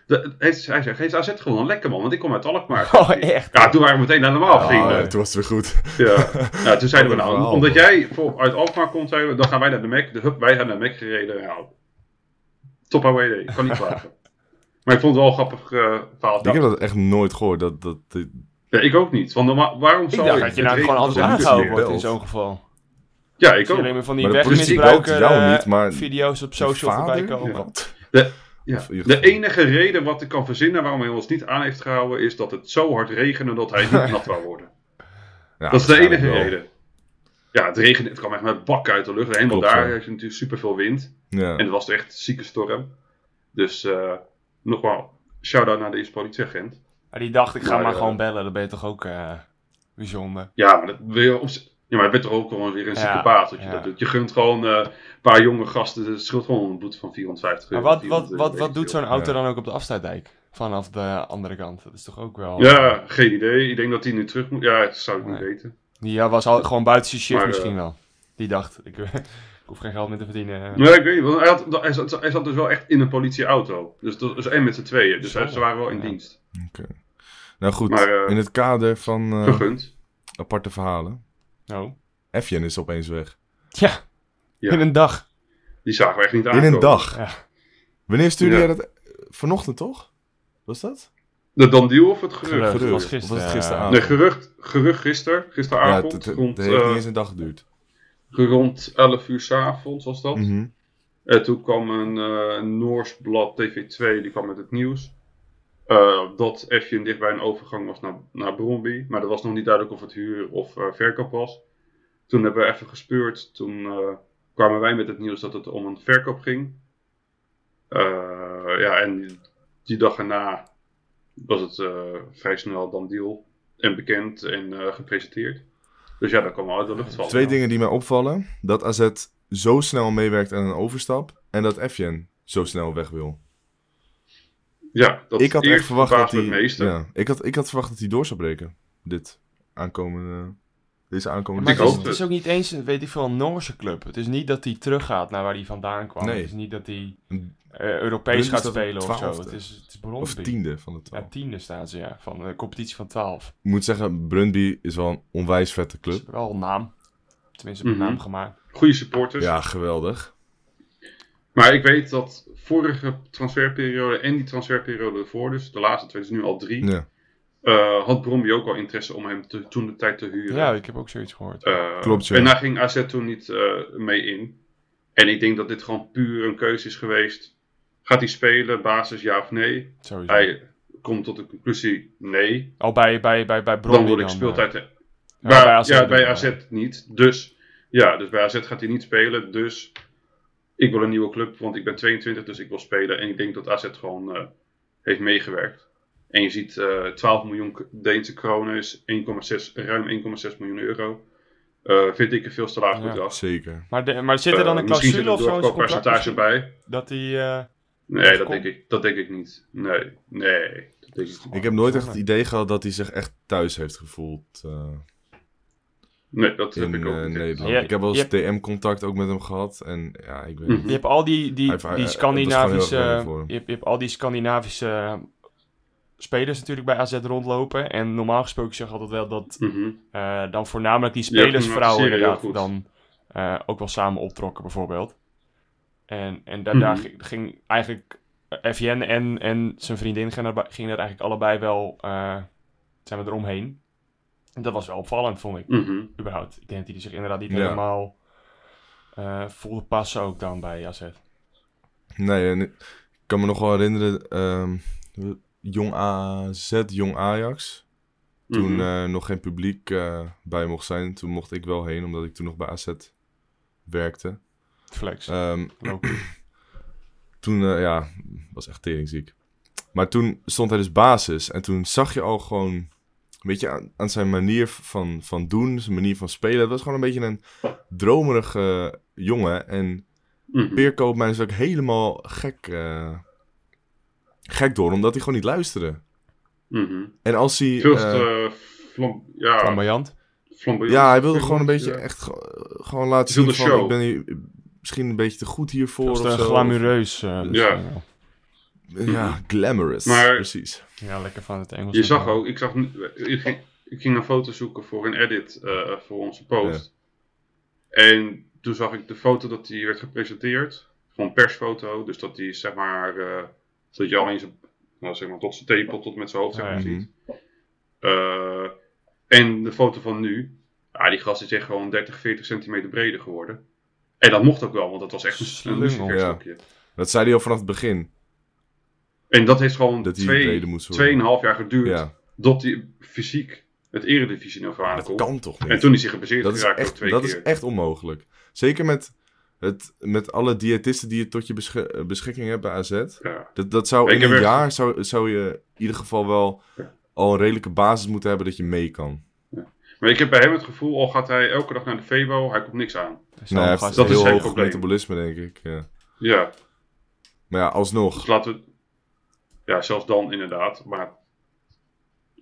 S7: de, heeft, hij zegt, heeft AZ gewoon lekker man, want ik kom uit Alkmaar.
S8: Oh echt?
S7: dus- Ja, eh, toen waren we meteen helemaal
S8: Oh,
S7: vrienden.
S6: Ah, toen was het weer goed.
S7: Ja. Ja, toen zeiden we
S6: Wat een
S7: nou,
S6: verhaal,
S7: omdat
S6: man.
S7: jij voor, uit Alkmaar komt, zeiden we, dan gaan wij naar de Mac. De hub, wij gaan naar de Mac gereden. Ja, top away day, kan niet klagen. Maar ik vond het wel een grappig eh, verhaal.
S6: Ik
S7: Ja,
S6: heb dat echt nooit gehoord. Dat, dat, dat-
S7: ik ook niet, want normaal- waarom
S8: Ik
S7: zou
S8: dacht dat je nou
S7: het
S8: gewoon altijd
S7: regent als
S8: aangehouden
S7: het niet
S8: wordt in
S6: gebeld.
S8: zo'n geval.
S7: is. Ja, ik
S8: Ik zie alleen
S7: ook.
S8: maar van die
S6: Maar de politie
S8: wegmisbruiker
S6: belt jou
S8: eh,
S6: niet, maar
S8: video's op
S6: Je
S8: social
S6: vader?
S8: voorbij komen.
S6: Wat?
S7: Ja.
S6: Of in ieder
S7: De
S6: geval.
S7: enige reden wat ik kan verzinnen waarom hij ons niet aan heeft gehouden, is dat het zo hard regende dat hij niet nat wou worden.
S6: Ja,
S7: dat is de enige
S6: waarschijnlijk wel.
S7: reden. Ja, het regent, het kwam echt met bakken uit de lucht. En helemaal
S6: Klopt,
S7: daar
S6: ja.
S7: heeft je natuurlijk superveel wind.
S6: Ja.
S7: En het was echt een zieke storm. Dus eh nogmaals, shout-out naar de eerste politieagent.
S8: Maar die dacht, ik ga
S7: Maar,
S8: maar
S7: eh,
S8: gewoon bellen. Dan ben je toch ook eh, bijzonder.
S7: Ja, maar dat wil je op z- ja, maar het werd toch ook gewoon weer een zieke
S8: Ja,
S7: baas dat je
S8: ja.
S7: dat doet. Je gunt gewoon eh, een paar jonge gasten, het scheelt gewoon een boete van 450
S8: Maar
S7: euro.
S8: wat, wat,
S7: 400 euro,
S8: wat, wat
S7: weet
S8: doet
S7: ik
S8: zo'n auto
S6: Ja.
S8: dan ook op de afsluitdijk? Vanaf de andere kant. Dat is toch ook wel...
S7: veel. Ja, geen idee. Ik denk dat hij nu terug moet. Ja, dat zou ik niet
S8: Nee.
S7: weten.
S8: Die eh, was al, gewoon buiten zijn shift
S7: Maar, eh,
S8: misschien wel. Die dacht, ik, ik hoef geen geld meer te verdienen.
S7: Ja, ik weet niet. Want hij, had, hij, zat, hij zat dus wel echt in een politieauto. Dus dat is één met z'n tweeën. Dus
S8: Zo.
S7: ze waren wel in
S8: Ja.
S7: dienst.
S6: Nou goed,
S7: Maar, eh,
S6: in het kader van eh,
S7: Gegund.
S6: aparte verhalen.
S8: Nou.
S6: Efjen is opeens weg.
S8: Ja,
S7: Ja.
S8: in een dag.
S7: Die zagen we echt niet aan.
S6: In een dag.
S8: Ja.
S6: Wanneer stuurde
S7: Ja.
S6: jij dat? eh, Vanochtend toch? Was dat?
S7: De Dandiel of het gerucht?
S8: Gerucht. Dat
S6: Gerucht.
S8: was
S6: Of was
S8: gisteren,
S6: het
S8: eh,
S6: gisteravond?
S7: Nee, gerucht, gerucht gisteren.
S6: Ja,
S7: Gisteravond.
S6: het, het-
S7: rond,
S6: het heeft
S7: eh,
S6: niet eens een dag geduurd.
S7: rond 11 uur s'avonds was dat.
S6: Mhm.
S7: En toen kwam een eh, Noors blad, TV2, die kwam met het nieuws. eh, dat Efjen dicht bij een overgang was naar, naar Bromby. Maar dat was nog niet duidelijk of het huur of eh, verkoop was. Toen hebben we even gespeurd. Toen eh, kwamen wij met het nieuws dat het om een verkoop ging. Eh, ja, en die dag erna was het eh, vrij snel dan deal. En bekend en eh, gepresenteerd. Dus ja, dat kwam wel uit de lucht vallen.
S6: Twee dingen die mij opvallen. Dat AZ zo snel meewerkt aan een overstap. En dat Efjen zo snel weg wil.
S7: Ja, dat
S6: ik had echt
S7: eerst
S6: verwacht dat
S7: verbaasde
S6: hij.
S7: het meeste.
S6: Ja, ik, had, ik had verwacht dat hij door zou breken. Dit aankomende. Deze aankomende.
S8: Maar
S7: Ik
S8: het is,
S7: hoop
S8: het
S7: het.
S8: is ook niet eens, een, weet ik veel, een Noorse club. Het is niet dat hij teruggaat naar waar hij vandaan kwam.
S6: Nee.
S8: Het is niet dat hij
S6: Een-
S8: eh, Europees
S6: Brugge
S8: gaat
S6: staat
S8: spelen of zo.
S6: twaalfde.
S8: Het is, het
S6: Of
S8: is Brondby.
S6: tiende van de
S8: Ja,
S6: twaalf.
S8: tiende staan ze, ja. Van de competitie van 12.
S6: Ik moet zeggen, Brundby is wel een onwijs vette
S8: Ze
S6: club.
S8: hebben wel een naam. Tenminste, een
S7: Mhm.
S8: naam gemaakt.
S7: Goede supporters.
S6: Ja, geweldig.
S7: Maar ik weet dat vorige transferperiode en die transferperiode ervoor, dus de laatste twee, dus nu al drie,
S6: Ja,
S7: eh, had Bromby ook al interesse om hem te- toen de tijd te huren.
S8: Ja, ik heb ook zoiets gehoord.
S7: Eh,
S6: Klopt, ja.
S7: En daar ging AZ toen niet eh, mee in. En ik denk dat dit gewoon puur een keuze is geweest. Gaat hij spelen, basis ja of nee?
S8: Sowieso.
S7: Hij komt tot de conclusie nee.
S8: Al bij, bij, bij, bij Bromby
S7: dan wil ik
S8: eh,
S7: speeltijd.
S8: ja,
S7: maar,
S8: bij AZ
S7: ja,
S8: dan,
S7: bij
S8: eh.
S7: AZ niet. Dus, ja, dus bij AZ gaat hij niet spelen. Dus ik wil een nieuwe club, want ik ben 22, dus ik wil spelen. En ik denk dat AZ gewoon eh, heeft meegewerkt. En je ziet eh 12 miljoen k- Deense kronen is 1,6 ruim 1,6 miljoen euro. Eh, vind ik een veel te laag
S8: Ja.
S7: bedrag.
S6: zeker.
S8: Maar, de, maar zit er
S7: Eh,
S8: dan een
S7: misschien
S8: clausule of
S7: zit er
S8: zo in
S7: een
S8: zijn
S7: doorverkooppercentage
S8: contract?
S7: bij.
S8: Dat hij eh,
S7: Nee, dat denk, ik, dat denk ik niet. Nee, nee. Dat denk ik niet.
S6: Ik heb nooit echt het idee gehad dat hij zich echt thuis heeft gevoeld eh,
S7: Nee, dat heb
S6: in
S7: ik ook
S6: eh,
S7: niet.
S6: Nederland.
S8: Ja,
S6: ik heb wel eens
S8: je
S6: DM-contact ook met hem gehad. En ja, ik weet
S7: Mhm.
S6: niet.
S8: Je hebt al die, die,
S6: Hij- hij-
S8: die
S6: hij- dat is
S8: Scandinavische.
S6: gewoon heel erg leuk voor hem.
S8: Je hebt, je hebt al die Scandinavische spelers natuurlijk bij AZ rondlopen. En normaal gesproken zeg ik altijd wel dat
S7: Mhm.
S8: eh, dan voornamelijk die
S7: Ja, dat
S8: spelersvrouwen
S7: zie je heel
S8: inderdaad
S7: goed.
S8: dan eh, ook wel samen optrokken bijvoorbeeld. En, en daar,
S7: Mhm.
S8: daar ging- ging eigenlijk eh, FJN en, en zijn vriendin gingen daar, gingen daar eigenlijk allebei wel eh, zijn we eromheen. En dat was wel opvallend, vond ik
S7: Mhm.
S8: überhaupt. Ik denk dat die zich inderdaad niet
S6: Ja.
S8: helemaal eh voelde passen ook dan bij AZ.
S6: Nee, en ik kan me nog wel herinneren. ehm, jong AZ, jong Ajax. Toen
S7: Mhm.
S6: eh, nog geen publiek eh, bij mocht zijn. Toen mocht ik wel heen, omdat ik toen nog bij AZ werkte.
S8: Flex.
S6: Ehm,
S8: Logisch.
S6: toen, eh, ja, was echt teringziek. Maar toen stond hij dus basis. En toen zag je al gewoon, weet je, aan, aan zijn manier van, van doen, zijn manier van spelen. Het was gewoon een beetje een dromerige jongen. En
S7: Mhm.
S6: Peerko op mij is ook helemaal gek, eh, gek door, omdat hij gewoon niet luisterde.
S7: Mhm.
S6: En als hij...
S7: Veel
S6: eh,
S7: te flam- ja,
S8: Flamboyant.
S7: flamboyant.
S6: ja, hij wilde gewoon een beetje
S7: Ja.
S6: echt ge- gewoon laten
S7: Hij
S6: zien
S7: wilde
S6: van,
S7: eh, show.
S6: ik ben hier misschien een beetje te goed hiervoor.
S8: Als
S6: Of
S8: er een
S6: zo.
S8: glamoureus. eh, dus,
S7: Ja.
S8: eh,
S6: Ja, glamorous,
S7: Mm-hmm. Maar-
S6: precies.
S8: ja, lekker van het Engels.
S7: Je zag
S6: eh,
S7: ook, ik, zag, nu- ik, ging, ik ging een foto zoeken voor een edit eh, voor onze post. En toen zag ik de foto dat die werd gepresenteerd. Gewoon persfoto. Dus dat die zeg maar. eh, dat je alleen zijn. Nou, zeg maar tot zijn tepel, tot met zijn hoofd zeg maar,
S8: Ja.
S7: ziet. Eh, en de foto van nu. Ja, die gast is echt gewoon 30, 40 centimeter breder geworden. En dat mocht ook wel, want dat was echt een,
S8: Slungel,
S7: een luciferstokje.
S6: Dat zei hij al vanaf het begin.
S7: En dat heeft gewoon
S6: Dat hij
S7: twee,
S6: breder moest worden.
S7: 2,5 jaar geduurd.
S6: Ja,
S7: dat hij fysiek het eredivisie-niveau aan
S6: dat
S7: kon.
S6: kan toch
S7: En
S6: niet?
S7: toen hij zich gebaseerd
S6: Dat is
S7: geraakt ook
S6: echt,
S7: twee
S6: dat
S7: keer.
S6: is echt onmogelijk. Zeker met, het, met alle diëtisten die je tot je besche- eh, beschikking hebt bij AZ.
S7: Ja.
S6: Dat, dat zou
S7: Ik
S6: in
S7: heb
S6: een
S7: echt-
S6: jaar zou, zou je in ieder geval wel
S7: Ja.
S6: al een redelijke basis moeten hebben dat je mee kan.
S7: Maar ik heb bij hem het gevoel, al gaat hij elke dag naar de Febo, hij komt niks aan.
S6: Nou, hij heeft
S7: dat is
S6: heel
S7: zijn
S6: hoog
S7: probleem.
S6: metabolisme, denk ik. Ja.
S7: Ja,
S6: Maar ja, alsnog.
S7: dus laten we... Ja, zelfs dan inderdaad. Maar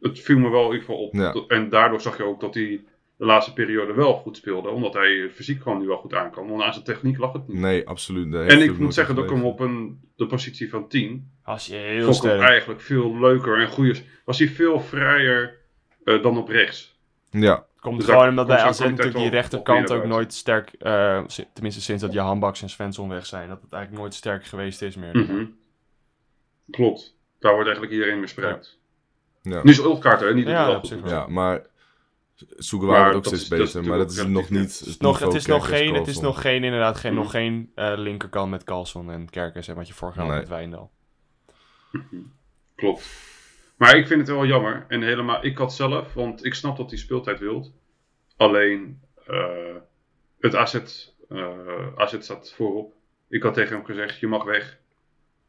S7: het viel me wel in ieder geval op.
S6: Ja.
S7: Dat- En daardoor zag je ook dat hij de laatste periode wel goed speelde. Omdat hij fysiek gewoon nu wel goed aan kan. Want aan zijn techniek lag het niet.
S6: Nee, absoluut. Daar heeft
S7: en
S6: hij
S7: ik
S6: ook
S7: moet
S6: nooit
S7: zeggen dat ik
S6: gelegen.
S7: hem op een, de positie van 10
S8: Als je heel
S7: vond ik hem
S8: sterk.
S7: eigenlijk veel leuker en goeier. Was hij veel vrijer eh, dan op rechts.
S6: Ja,
S8: Komt
S7: Dus
S8: gewoon
S7: daar
S8: omdat
S7: komt zijn
S8: bij AZ natuurlijk die
S7: kwaliteit wel- wel
S8: rechterkant
S7: meer
S8: ook
S7: uit.
S8: nooit sterk... eh, si- tenminste sinds dat Jahan Baks en Svensson weg zijn. Dat het eigenlijk nooit sterk geweest is meer.
S7: Mhm. Klopt. Daar wordt eigenlijk iedereen misbruikt.
S6: ja.
S7: Nu is Ulkaart er, niet
S8: Ja,
S7: ja,
S8: op zich wel.
S6: ja, maar Sugawa
S7: Maar
S6: wordt ook
S7: dat
S6: steeds
S7: is- dat is
S6: beter. maar dat is
S7: natuurlijk
S6: nog
S7: relatief,
S6: niet...
S8: Het is nog, het is nog,
S6: Dus niveau
S8: geen, het is
S6: Kerkers
S8: nog geen, inderdaad, geen, nog
S7: Mhm.
S8: geen eh, linkerkant met Carlson en Kerkers en wat je vorig jaar had
S6: Nee.
S8: met Wijndal.
S7: Klopt. Maar ik vind het wel jammer. En helemaal, ik had zelf, want ik snap dat hij speeltijd wilt. Alleen, eh, het asset, eh asset staat voorop. Ik had tegen hem gezegd, je mag weg.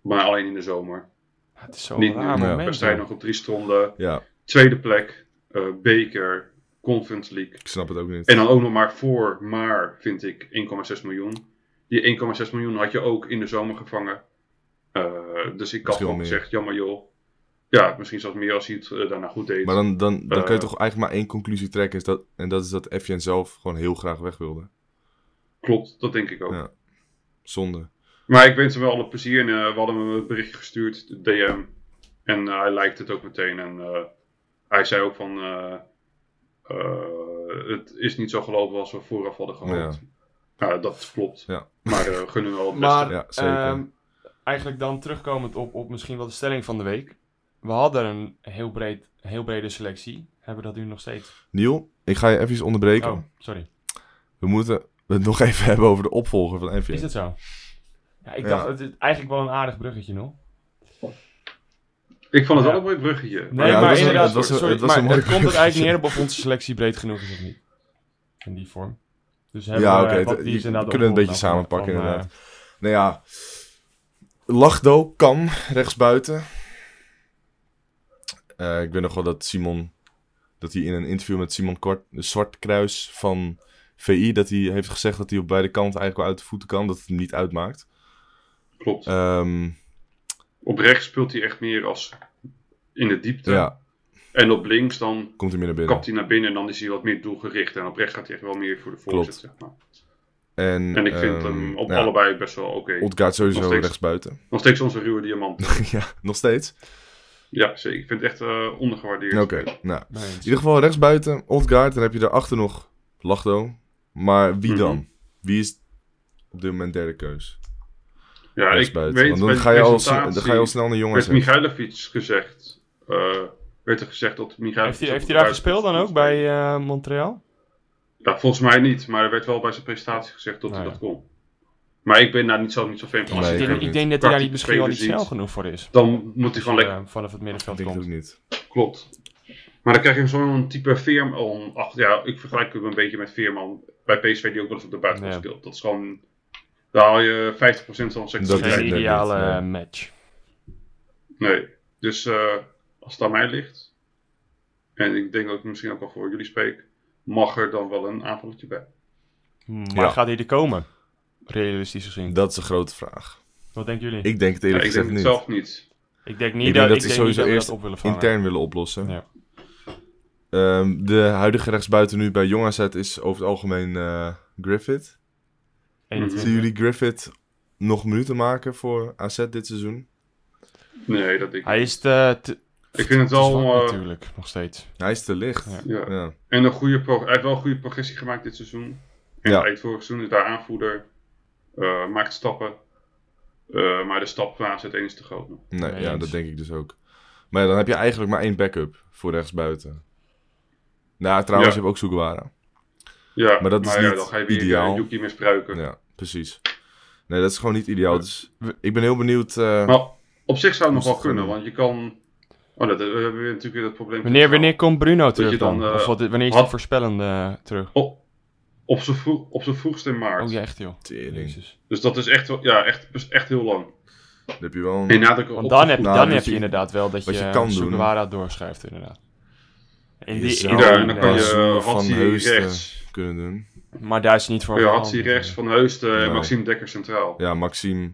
S7: Maar alleen in de zomer.
S8: Ja, het is zo'n
S7: Niet
S8: raar
S7: nu.
S8: moment.
S7: We staan
S8: joh.
S7: nog op drie stonden.
S6: Ja,
S7: Tweede plek, eh, beker, conference league.
S6: ik snap het ook niet.
S7: En dan ook nog maar voor, maar vind ik, 1,6 miljoen. Die 1,6 miljoen had je ook in de zomer gevangen. Eh, dus ik had
S6: Misschien
S7: gewoon
S6: wel
S7: gezegd, jammer joh. Ja, misschien zelfs meer als hij het eh, daarna goed deed.
S6: Maar dan, dan, dan kun je
S7: Eh.
S6: toch eigenlijk maar één conclusie trekken. Is dat, en dat is dat FJN zelf gewoon heel graag weg wilde.
S7: Klopt, dat denk ik ook.
S6: Ja. Zonde.
S7: Maar ik wens hem wel alle plezier. En eh, we hadden hem een berichtje gestuurd, DM. En eh, hij liked het ook meteen. En eh, hij zei ook van... eh, eh, het is niet zo gelopen als we vooraf hadden gehoopt. Ja, dat klopt.
S6: Ja.
S7: Maar eh gun hem wel het beste.
S8: Maar
S6: Ja, zeker.
S8: ehm, eigenlijk dan terugkomend op, op misschien wel de stelling van de week. We hadden een heel, breed, heel brede selectie. Hebben we dat nu nog steeds?
S6: Niel, ik ga je even onderbreken.
S8: Oh, sorry.
S6: We moeten het nog even hebben over de opvolger van FJN.
S8: Is dat zo? Ja, ik
S6: Ja.
S8: dacht, het is eigenlijk wel een aardig bruggetje nog.
S7: Ik vond het
S8: Ja.
S7: wel een mooi bruggetje.
S8: Nee,
S6: Ja, het
S8: maar
S6: was een-
S8: inderdaad,
S6: het was een-
S8: sorry,
S6: het was
S8: maar
S6: een mooi
S8: het komt er eigenlijk
S6: bruggetje.
S8: neer op of onze selectie breed genoeg is of niet. In die vorm. Dus hebben
S6: Ja,
S8: we,
S6: oké,
S8: eh, wat
S6: het-
S8: die is
S6: je-
S8: inderdaad
S6: we kunnen het een
S8: ook
S6: beetje
S8: nog van-
S6: samenpakken,
S8: van, eh,
S6: inderdaad. Nou ja, Lachdo kan rechtsbuiten. Eh ik weet nog wel dat Simon, dat hij in een interview met Simon Kwart, Zwartkruis van VI, dat hij heeft gezegd dat hij op beide kanten eigenlijk wel uit de voeten kan, dat het hem niet uitmaakt.
S7: Klopt.
S6: Ehm,
S7: Op rechts speelt hij echt meer als in de diepte.
S6: Ja,
S7: En op links dan
S6: komt hij meer naar binnen.
S7: kapt hij naar binnen en dan is hij wat meer doelgericht. En op rechts gaat hij echt wel meer voor de
S6: Klopt.
S7: voorzet, zeg maar.
S6: En,
S7: En ik vind
S6: ehm,
S7: hem op
S6: nou ja,
S7: allebei best wel oké.
S6: Odgaard sowieso
S7: Nog steeds.
S6: rechtsbuiten.
S7: Nog steeds onze ruwe diamant.
S6: ja, nog steeds.
S7: ja, zeker. Ik vind het echt eh, ondergewaardeerd.
S6: Oké, nou. In ieder geval rechtsbuiten, Odgaard. Dan heb je daarachter nog Lachdo. Maar
S7: Mhm.
S6: wie dan? Wie is op dit moment derde keus?
S7: Ja, ik
S6: rechtsbuiten.
S7: weet,
S6: Want dan
S7: bij de
S6: ga, je al, dan
S7: presentatie
S6: ga je al snel naar jongens.
S7: werd Michailovic gezegd. eh, werd er gezegd dat Michailovic...
S8: Heeft hij,
S7: op
S8: heeft
S7: de
S8: hij daar
S7: buitenkant
S8: gespeeld dan
S7: kon
S8: ook bij
S7: spelen.
S8: eh, Montreal?
S7: Ja, volgens mij niet. Maar er werd wel bij zijn presentatie gezegd dat
S8: Nou
S7: hij
S8: ja.
S7: dat kon. Maar ik ben daar niet zo, niet zo fan
S6: Nee,
S7: van. Als
S8: ik,
S7: je
S8: denk,
S6: ook
S8: ik
S7: hem-
S8: denk dat hij daar
S7: praktische
S8: niet, misschien wel niet
S7: spelers
S8: snel
S7: ziet.
S8: genoeg voor is.
S7: Dan moet hij gewoon lekker...
S8: Eh, vanaf het
S6: Ik
S8: middenveld
S6: denk het ook
S8: komt.
S6: niet.
S7: Klopt. Maar dan krijg je zo'n type Veerman. Ach, ja, ik vergelijk hem een beetje met Veerman bij PSV die ook wel eens op de buitenkant
S8: Ja.
S7: speelt. Dat is gewoon... Daar haal je 50% van zijn
S6: Dat is
S8: Geen
S6: het net
S8: ideale
S6: niet, nee.
S8: eh, match.
S7: Nee. Dus eh, als het aan mij ligt, en ik denk dat ik misschien ook al voor jullie spreek, mag er dan wel een aanvalletje bij.
S8: Maar
S6: Ja.
S8: gaat hij er komen? Realistisch gezien.
S6: Dat is een grote vraag.
S8: Wat denken jullie? Ik,
S6: Ik denk het
S7: Ja,
S6: eerlijk
S7: ik denk
S6: gezegd
S7: het
S6: niet.
S7: zelf niet.
S8: denk niet
S6: ik denk
S8: dat,
S6: dat
S8: ik
S6: ze
S8: denk
S6: sowieso
S8: niet dat we
S6: eerst
S8: dat op willen vangen.
S6: Intern willen oplossen.
S8: eh, Ja.
S6: Ehm, de huidige rechtsbuiten nu bij Jong AZ is over het algemeen eh, Griffith.
S7: Mhm.
S8: 21.
S6: Zien jullie Griffith nog minuten maken voor AZ dit seizoen?
S7: Nee, dat denk ik.
S8: Hij is te, te,
S7: Ik vind het
S8: te
S7: wel.
S8: zwak
S7: eh,
S8: natuurlijk, nog steeds.
S6: Hij is te licht. Ja.
S7: ja. En een goede pro- hij heeft wel een goede progressie gemaakt dit seizoen. En
S6: Ja.
S7: hij vorig seizoen is daar aanvoerder. eh, maakt stappen. Eh, maar de stap naar AZ1 is te groot nog.
S6: Nee,
S8: Nee
S6: ja,
S8: eens.
S6: dat denk ik dus ook. Maar ja, dan heb je eigenlijk maar één backup voor rechtsbuiten. Nou, trouwens,
S7: Ja.
S6: je hebt ook Sugawara.
S7: Ja,
S6: Maar dat is
S7: ja,
S6: niet
S7: dan ga je weer eh,
S6: ideaal.
S7: Yuki misbruiken.
S6: Ja, precies. Nee, dat is gewoon niet ideaal. Dus ik ben heel benieuwd. eh,
S7: Maar op zich zou het nog
S6: Moest
S7: wel
S6: het
S7: kunnen,
S6: kunnen.
S7: want je kan... Oh, dat, we hebben weer natuurlijk weer dat probleem.
S8: Wanneer, wanneer komt Bruno
S7: je
S8: terug dan?
S7: dan, eh,
S8: of wat, wanneer is
S7: had-
S8: de voorspellende eh, terug?
S7: Op, op z'n vroeg, op z'n vroegst in maart.
S8: Oh ja, echt joh.
S6: Tering.
S8: Jezus.
S7: Dus dat is echt, wel- ja, echt, echt heel lang.
S6: dan heb je wel een-
S7: En nadruk op
S8: Want dan heb,
S6: Nou,
S8: dan
S6: wat
S8: heb je
S6: je-
S8: inderdaad wel dat
S6: wat
S8: je,
S6: je
S8: je
S6: kan doen.
S8: doorschrijft inderdaad. In
S6: Je
S8: die-
S6: zou-
S7: Ja, en dan
S8: ja.
S7: kan je
S6: Bassoer,
S7: eh,
S6: Van
S7: Hatsi
S6: Heusden.
S7: rechts.
S6: kunnen doen.
S8: Maar daar is hij niet voor.
S7: Ja,
S8: gehaald.
S7: Hatsi rechts, Van Heusden en
S6: Nee.
S7: Maxime Dekker centraal.
S6: Ja, Maxime.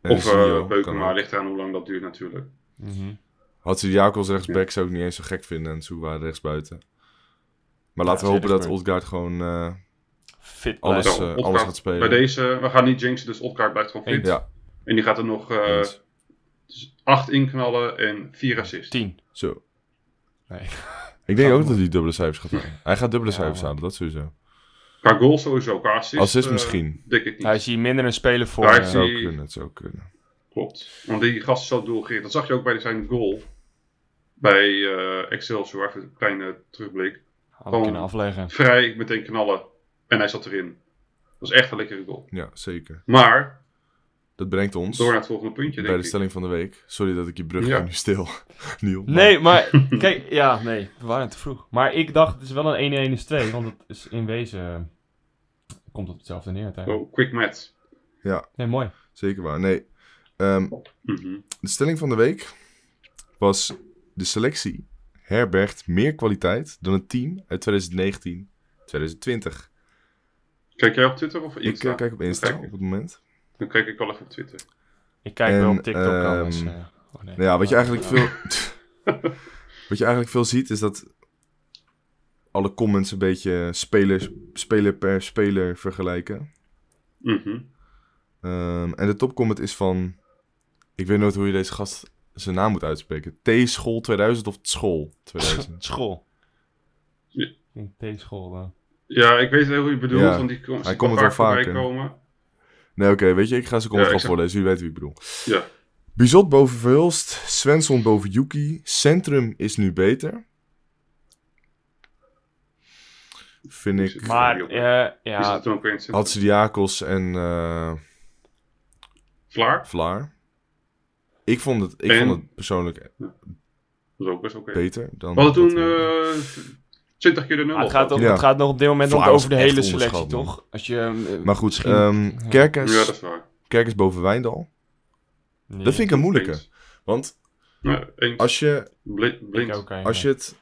S6: en
S7: of
S6: Sinjo
S7: eh
S6: kan
S7: Beukema,
S6: ook.
S7: ligt eraan hoe lang dat duurt natuurlijk.
S8: Mhm.
S6: Had ze Jacobs rechtsback zou ik niet eens zo gek vinden en Soewa rechtsbuiten. Maar laten we
S8: Ja,
S6: hopen dat
S8: rechtsbuiten.
S6: Odgaard gewoon eh,
S8: Fit
S6: alles,
S8: blijft.
S6: eh,
S7: Zo,
S6: alles
S7: Odgaard
S6: gaat spelen.
S7: Bij deze, we gaan niet jinxen, dus Opkaart blijft gewoon fit.
S6: Ja,
S7: En die gaat er nog
S6: eens.
S7: 8 inknallen en 4 assists.
S8: 10.
S6: zo.
S8: Nee.
S6: Ik denk
S8: Gaat
S6: ook dat hij dubbele cijfers gaat halen. Hij gaat dubbele
S8: Ja,
S6: cijfers
S8: man.
S6: halen, dat sowieso.
S7: Qua goal sowieso, qua assist.
S6: Assist
S7: eh,
S6: misschien.
S7: Denk ik niet.
S8: Hij is hier minder een speler voor.
S7: Daar
S8: eh,
S7: is
S6: Het
S7: hij-
S6: zou
S7: Die-
S6: kunnen, het zou kunnen.
S7: Klopt. Want die gast is zo doelgericht. Dat zag je ook bij zijn goal. Bij eh, Excelsior, even een kleine terugblik.
S8: had ik kunnen afleggen.
S7: Vrij, meteen knallen. En hij zat erin. Dat was echt een lekkere goal.
S6: Ja, zeker.
S7: Maar,
S6: Dat brengt ons
S7: door naar het volgende puntje,
S6: bij
S7: denk
S6: de
S7: ik.
S6: stelling van de week. Sorry dat ik je brug
S7: Ja.
S6: nu stil. Niel, maar-
S8: Nee, maar kijk, ja, nee, we waren te vroeg. Maar ik dacht, het is wel een 1 1 2, want het is in wezen eh, komt op hetzelfde neer uiteindelijk.
S7: Oh, quick match.
S8: Nee, mooi.
S6: Zeker waar. Nee. Ehm,
S7: Mhm.
S6: de stelling van de week was... De selectie herbergt meer kwaliteit dan het team uit 2019, 2020.
S7: Kijk jij op Twitter of
S6: Ik
S7: Insta?
S6: eh, kijk op Insta
S7: Dan
S6: op
S7: kijk,
S6: het moment.
S7: dan kijk ik wel even op Twitter.
S8: Ik kijk wel
S6: En,
S8: op TikTok
S6: ehm,
S8: anders. eh. Oh, nee.
S6: Nou ja, wat je
S8: Oh,
S6: eigenlijk
S8: oh.
S6: veel... wat je eigenlijk veel ziet is dat... Alle comments een beetje speler, speler per speler vergelijken.
S7: Mhm.
S6: Ehm, en de topcomment is van... Ik weet nooit hoe je deze gast zijn naam moet uitspreken. T-school 2000 of school 2000.
S8: School.
S7: Ja.
S8: Ik denk T-school dan.
S7: Ja, ik weet heel hoe je bedoelt,
S6: Ja,
S7: want die komt
S6: hij komt het wel vaker.
S7: komen.
S6: Nee, oké, weet je, ik ga ze comment
S7: Ja,
S6: gewoon
S7: ik
S6: voorlezen.
S7: zeg-
S6: Jullie weten wie ik bedoel.
S7: Ja.
S6: Bizot boven Verhulst, Svensson boven Yuki, Centrum is nu beter. Vind ik...
S7: Maar-
S8: Maar,
S7: jongen.
S8: eh,
S7: Is
S8: ja,
S7: dat dan ook weer in het centrum?
S6: Hatsidiakos en eh,
S7: Vlaar?
S6: Vlaar. Ik vond het, ik
S7: En?
S6: vond het persoonlijk
S7: Dat is ook best oké.
S6: beter dan.
S7: We hadden toen
S6: dat-
S7: eh 20 keer de nul.
S8: Maar Ah, het, gaat
S7: toch?
S8: om,
S6: Ja.
S8: het gaat nog op dit moment nog
S6: Vlaar was
S8: over de
S6: echt
S8: hele
S6: onderschat,
S8: selectie,
S6: man.
S8: toch? Als je, eh,
S6: maar goed,
S8: misschien-
S6: ehm, Kerkers,
S7: Ja, dat is waar.
S6: Kerkers boven Wijndal.
S8: Nee,
S6: Dat vind ik een moeilijke.
S7: Eens.
S6: Want
S7: Nee, eens.
S6: als je,
S7: Nou, Bli- blind.
S8: eh, ook, eigenlijk.
S6: als je het.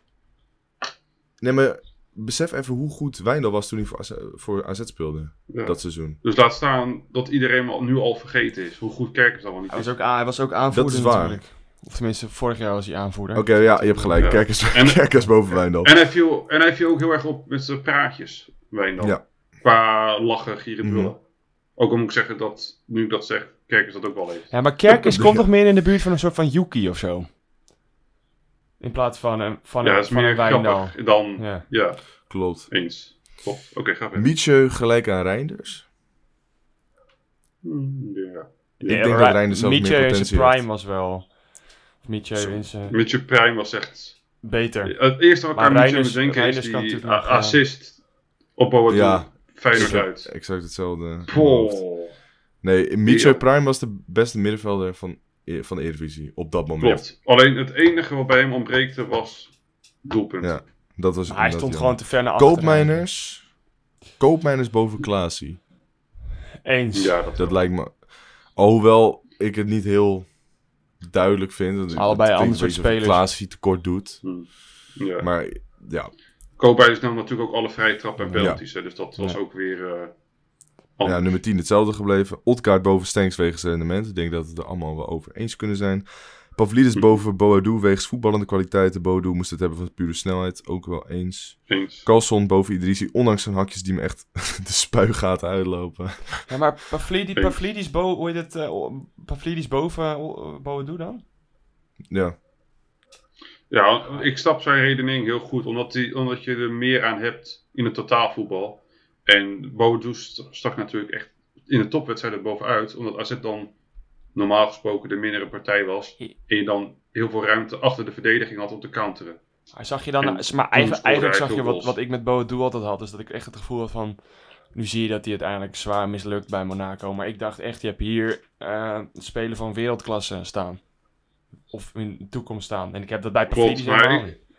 S6: Nee, maar besef even hoe goed Wijndal was toen hij voor AZ, voor AZ speelde.
S7: Ja.
S6: Dat seizoen.
S7: Dus laat staan dat iedereen al- nu al vergeten is hoe goed Kerkers allemaal niet
S8: Hij was
S7: is.
S8: ook, aan- hij was ook aanvoerder
S6: Dat is waar.
S8: natuurlijk. Of tenminste, vorig jaar was hij aanvoerder.
S6: Oké, ja, je hebt gelijk.
S7: Ja.
S6: Kerkers,
S7: En-
S6: Kerkers boven Wijndal.
S7: En hij, viel, en hij viel ook heel erg op met zijn praatjes, Wijndal.
S6: Ja.
S7: Qua lachen, gieren,
S6: Mhm.
S7: brullen. Ook al moet ik zeggen dat, nu ik dat zeg, Kerkers dat ook wel heeft.
S8: Ja, maar Kerkers komt toch meer in de buurt van een soort van Yuki of zo? In plaats van een, van
S7: Ja,
S8: een,
S7: dat is
S8: van
S7: meer
S8: een Wijndal.
S7: grappig dan... Ja,
S8: Ja.
S6: Klopt.
S7: eens. Klopt. Oké, ga verder.
S6: Mietje gelijk aan Reinders.
S7: Hmm, Ja.
S6: Ik denk dat Reinders zelf meer
S8: Mietje in
S6: potentie
S8: zijn
S6: heeft.
S8: prime was wel... Of Mietje in zijn...
S7: Met je prime was echt...
S8: Beter.
S7: Het eerste wat ik
S8: Maar
S7: aan Mietje
S8: Reinders-
S7: moet denken is
S8: Reinders kan
S7: die a-
S8: natuurlijk nog, eh,
S7: assist op Boadu.
S6: Ja.
S7: Feyenoord uit.
S6: Exact hetzelfde.
S7: Poh.
S6: Nee, Mietje
S7: Ja.
S6: Prime was de beste middenvelder van, E- van de Eredivisie op dat moment.
S7: Klopt. Alleen het enige wat bij hem ontbreekte was doelpunt.
S6: Ja, dat was
S8: Maar
S6: inderdaad
S8: hij stond
S6: jammer.
S8: gewoon te ver naar achteren.
S6: Koopmijners. Koopmijners boven Klaasie.
S8: Eens.
S7: Ja, dat,
S6: Dat lijkt me... Alhoewel ik het niet heel duidelijk vind. want het
S8: Allebei
S6: klinkt
S8: ander
S6: een
S8: soort
S6: beetje alsof
S8: spelers.
S6: Klaasie tekort doet.
S7: ja.
S6: Maar ja,
S7: Koophuis nam natuurlijk ook alle vrije trappen en penalties. Hè, dus dat was
S8: Ja.
S7: ook weer... eh
S8: Oh.
S6: ja, nummer 10 hetzelfde gebleven. Otkaart boven Stenks wegens rendement. Ik denk dat we het er allemaal wel over eens kunnen zijn. Pavlidis
S8: Hm.
S6: boven Boadu wegens voetballende kwaliteiten. Boadu moest het hebben van pure snelheid. Ook wel eens.
S7: Eens.
S6: Carlson boven Idrisi. Ondanks zijn hakjes die me echt de spuigaten uitlopen.
S8: Ja, maar Pavlidis,
S7: Eens.
S8: Pavlidis, bo, hoe heet het, eh, o- Pavlidis boven eh, Boadu dan?
S6: Ja,
S7: Ja, ik snap zijn redenering heel goed, omdat, die, omdat je er meer aan hebt in het totaalvoetbal. En Bodo st- stak natuurlijk echt in de topwedstrijden bovenuit, omdat AZ dan normaal gesproken de mindere partij was. En je dan heel veel ruimte achter de verdediging had om te counteren.
S8: Maar zag je dan,
S7: En
S8: maar
S7: toen
S8: eigenlijk,
S7: scoorde
S8: eigenlijk
S7: hij
S8: zag je
S7: veel
S8: wat,
S7: goals.
S8: wat ik met Boadu altijd had, is dat ik echt het gevoel had van, nu zie je dat hij uiteindelijk zwaar mislukt bij Monaco, maar ik dacht echt, je hebt hier eh spelen van wereldklasse staan. Of in de toekomst staan. En ik heb dat bij
S7: Klopt,
S8: Pavlidis
S7: maar
S8: helemaal
S7: ik-
S8: niet.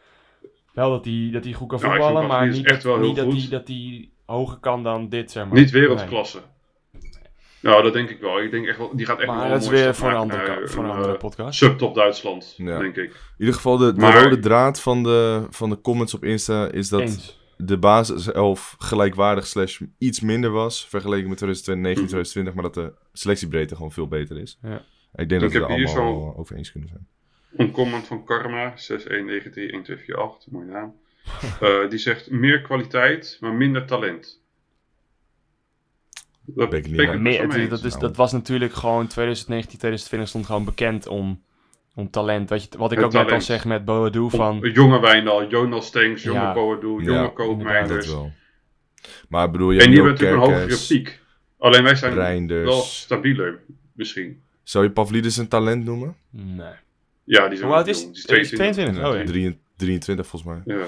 S8: Wel dat hij, dat hij goed kan
S7: Ja, ik vind
S8: voetballen, maar
S7: Pavlidis
S8: niet,
S7: echt wel heel
S8: niet dat,
S7: goed.
S8: hij, dat hij hoger kan dan dit, zeg maar.
S7: Niet wereldklasse. Nou, dat denk ik wel. Ik denk echt wel die gaat echt
S8: Nee. Maar
S7: wel
S8: dat is
S7: mooie
S8: weer
S7: stap
S8: voor een
S7: maken
S8: andere,
S7: naar,
S8: ka- voor een
S7: eh,
S8: andere podcast.
S7: Subtop Duitsland,
S6: Ja.
S7: denk ik.
S6: in ieder geval de, de
S7: Maar-
S6: rode draad van de, van de comments op Insta is dat...
S8: Eens.
S6: de basiself gelijkwaardig slash iets minder was vergeleken met 2019, 2020, maar dat de selectiebreedte gewoon veel beter is.
S8: Ja.
S6: Ik denk dat we
S7: heb
S6: er
S7: hier
S6: allemaal
S7: zo-
S6: wel over eens kunnen zijn.
S7: Een comment van Karma, 61931248, mooie naam. Eh, die zegt meer kwaliteit, maar minder talent. Dat
S6: Ben ik niet
S7: ben ik
S6: mee.
S7: het
S8: Meer,
S7: wel mee
S8: het- dat,
S7: eens.
S8: is,
S6: Nou.
S8: dat was natuurlijk gewoon 2019, 2020 stond gewoon bekend om, om talent. Wat, je, wat ik
S7: Het
S8: ook net
S7: talent.
S8: al zeg met Boadu
S7: Van...
S8: van...
S7: Jonge Wijndal, Jonas Stenks, jonge
S8: Ja.
S6: Ja,
S7: Boadu, jonge
S6: inderdaad, Ja, dat
S7: Koopmeijers.
S6: wel. Maar ik bedoel, je
S7: En
S6: hebt
S7: die
S6: nu
S7: hebben
S6: ook
S7: natuurlijk een
S6: Kerkers.
S7: hogere piek. Alleen wij zijn
S6: Reinders.
S7: wel stabieler, misschien.
S6: Zou je Pavlidis een talent noemen?
S8: Nee.
S7: Ja, die zijn
S8: Hoe oud
S7: wel
S8: is
S7: jong.
S8: die?
S7: Die
S8: Is 22? Oh, ja.
S6: Drie- 23 volgens mij.
S7: Ja.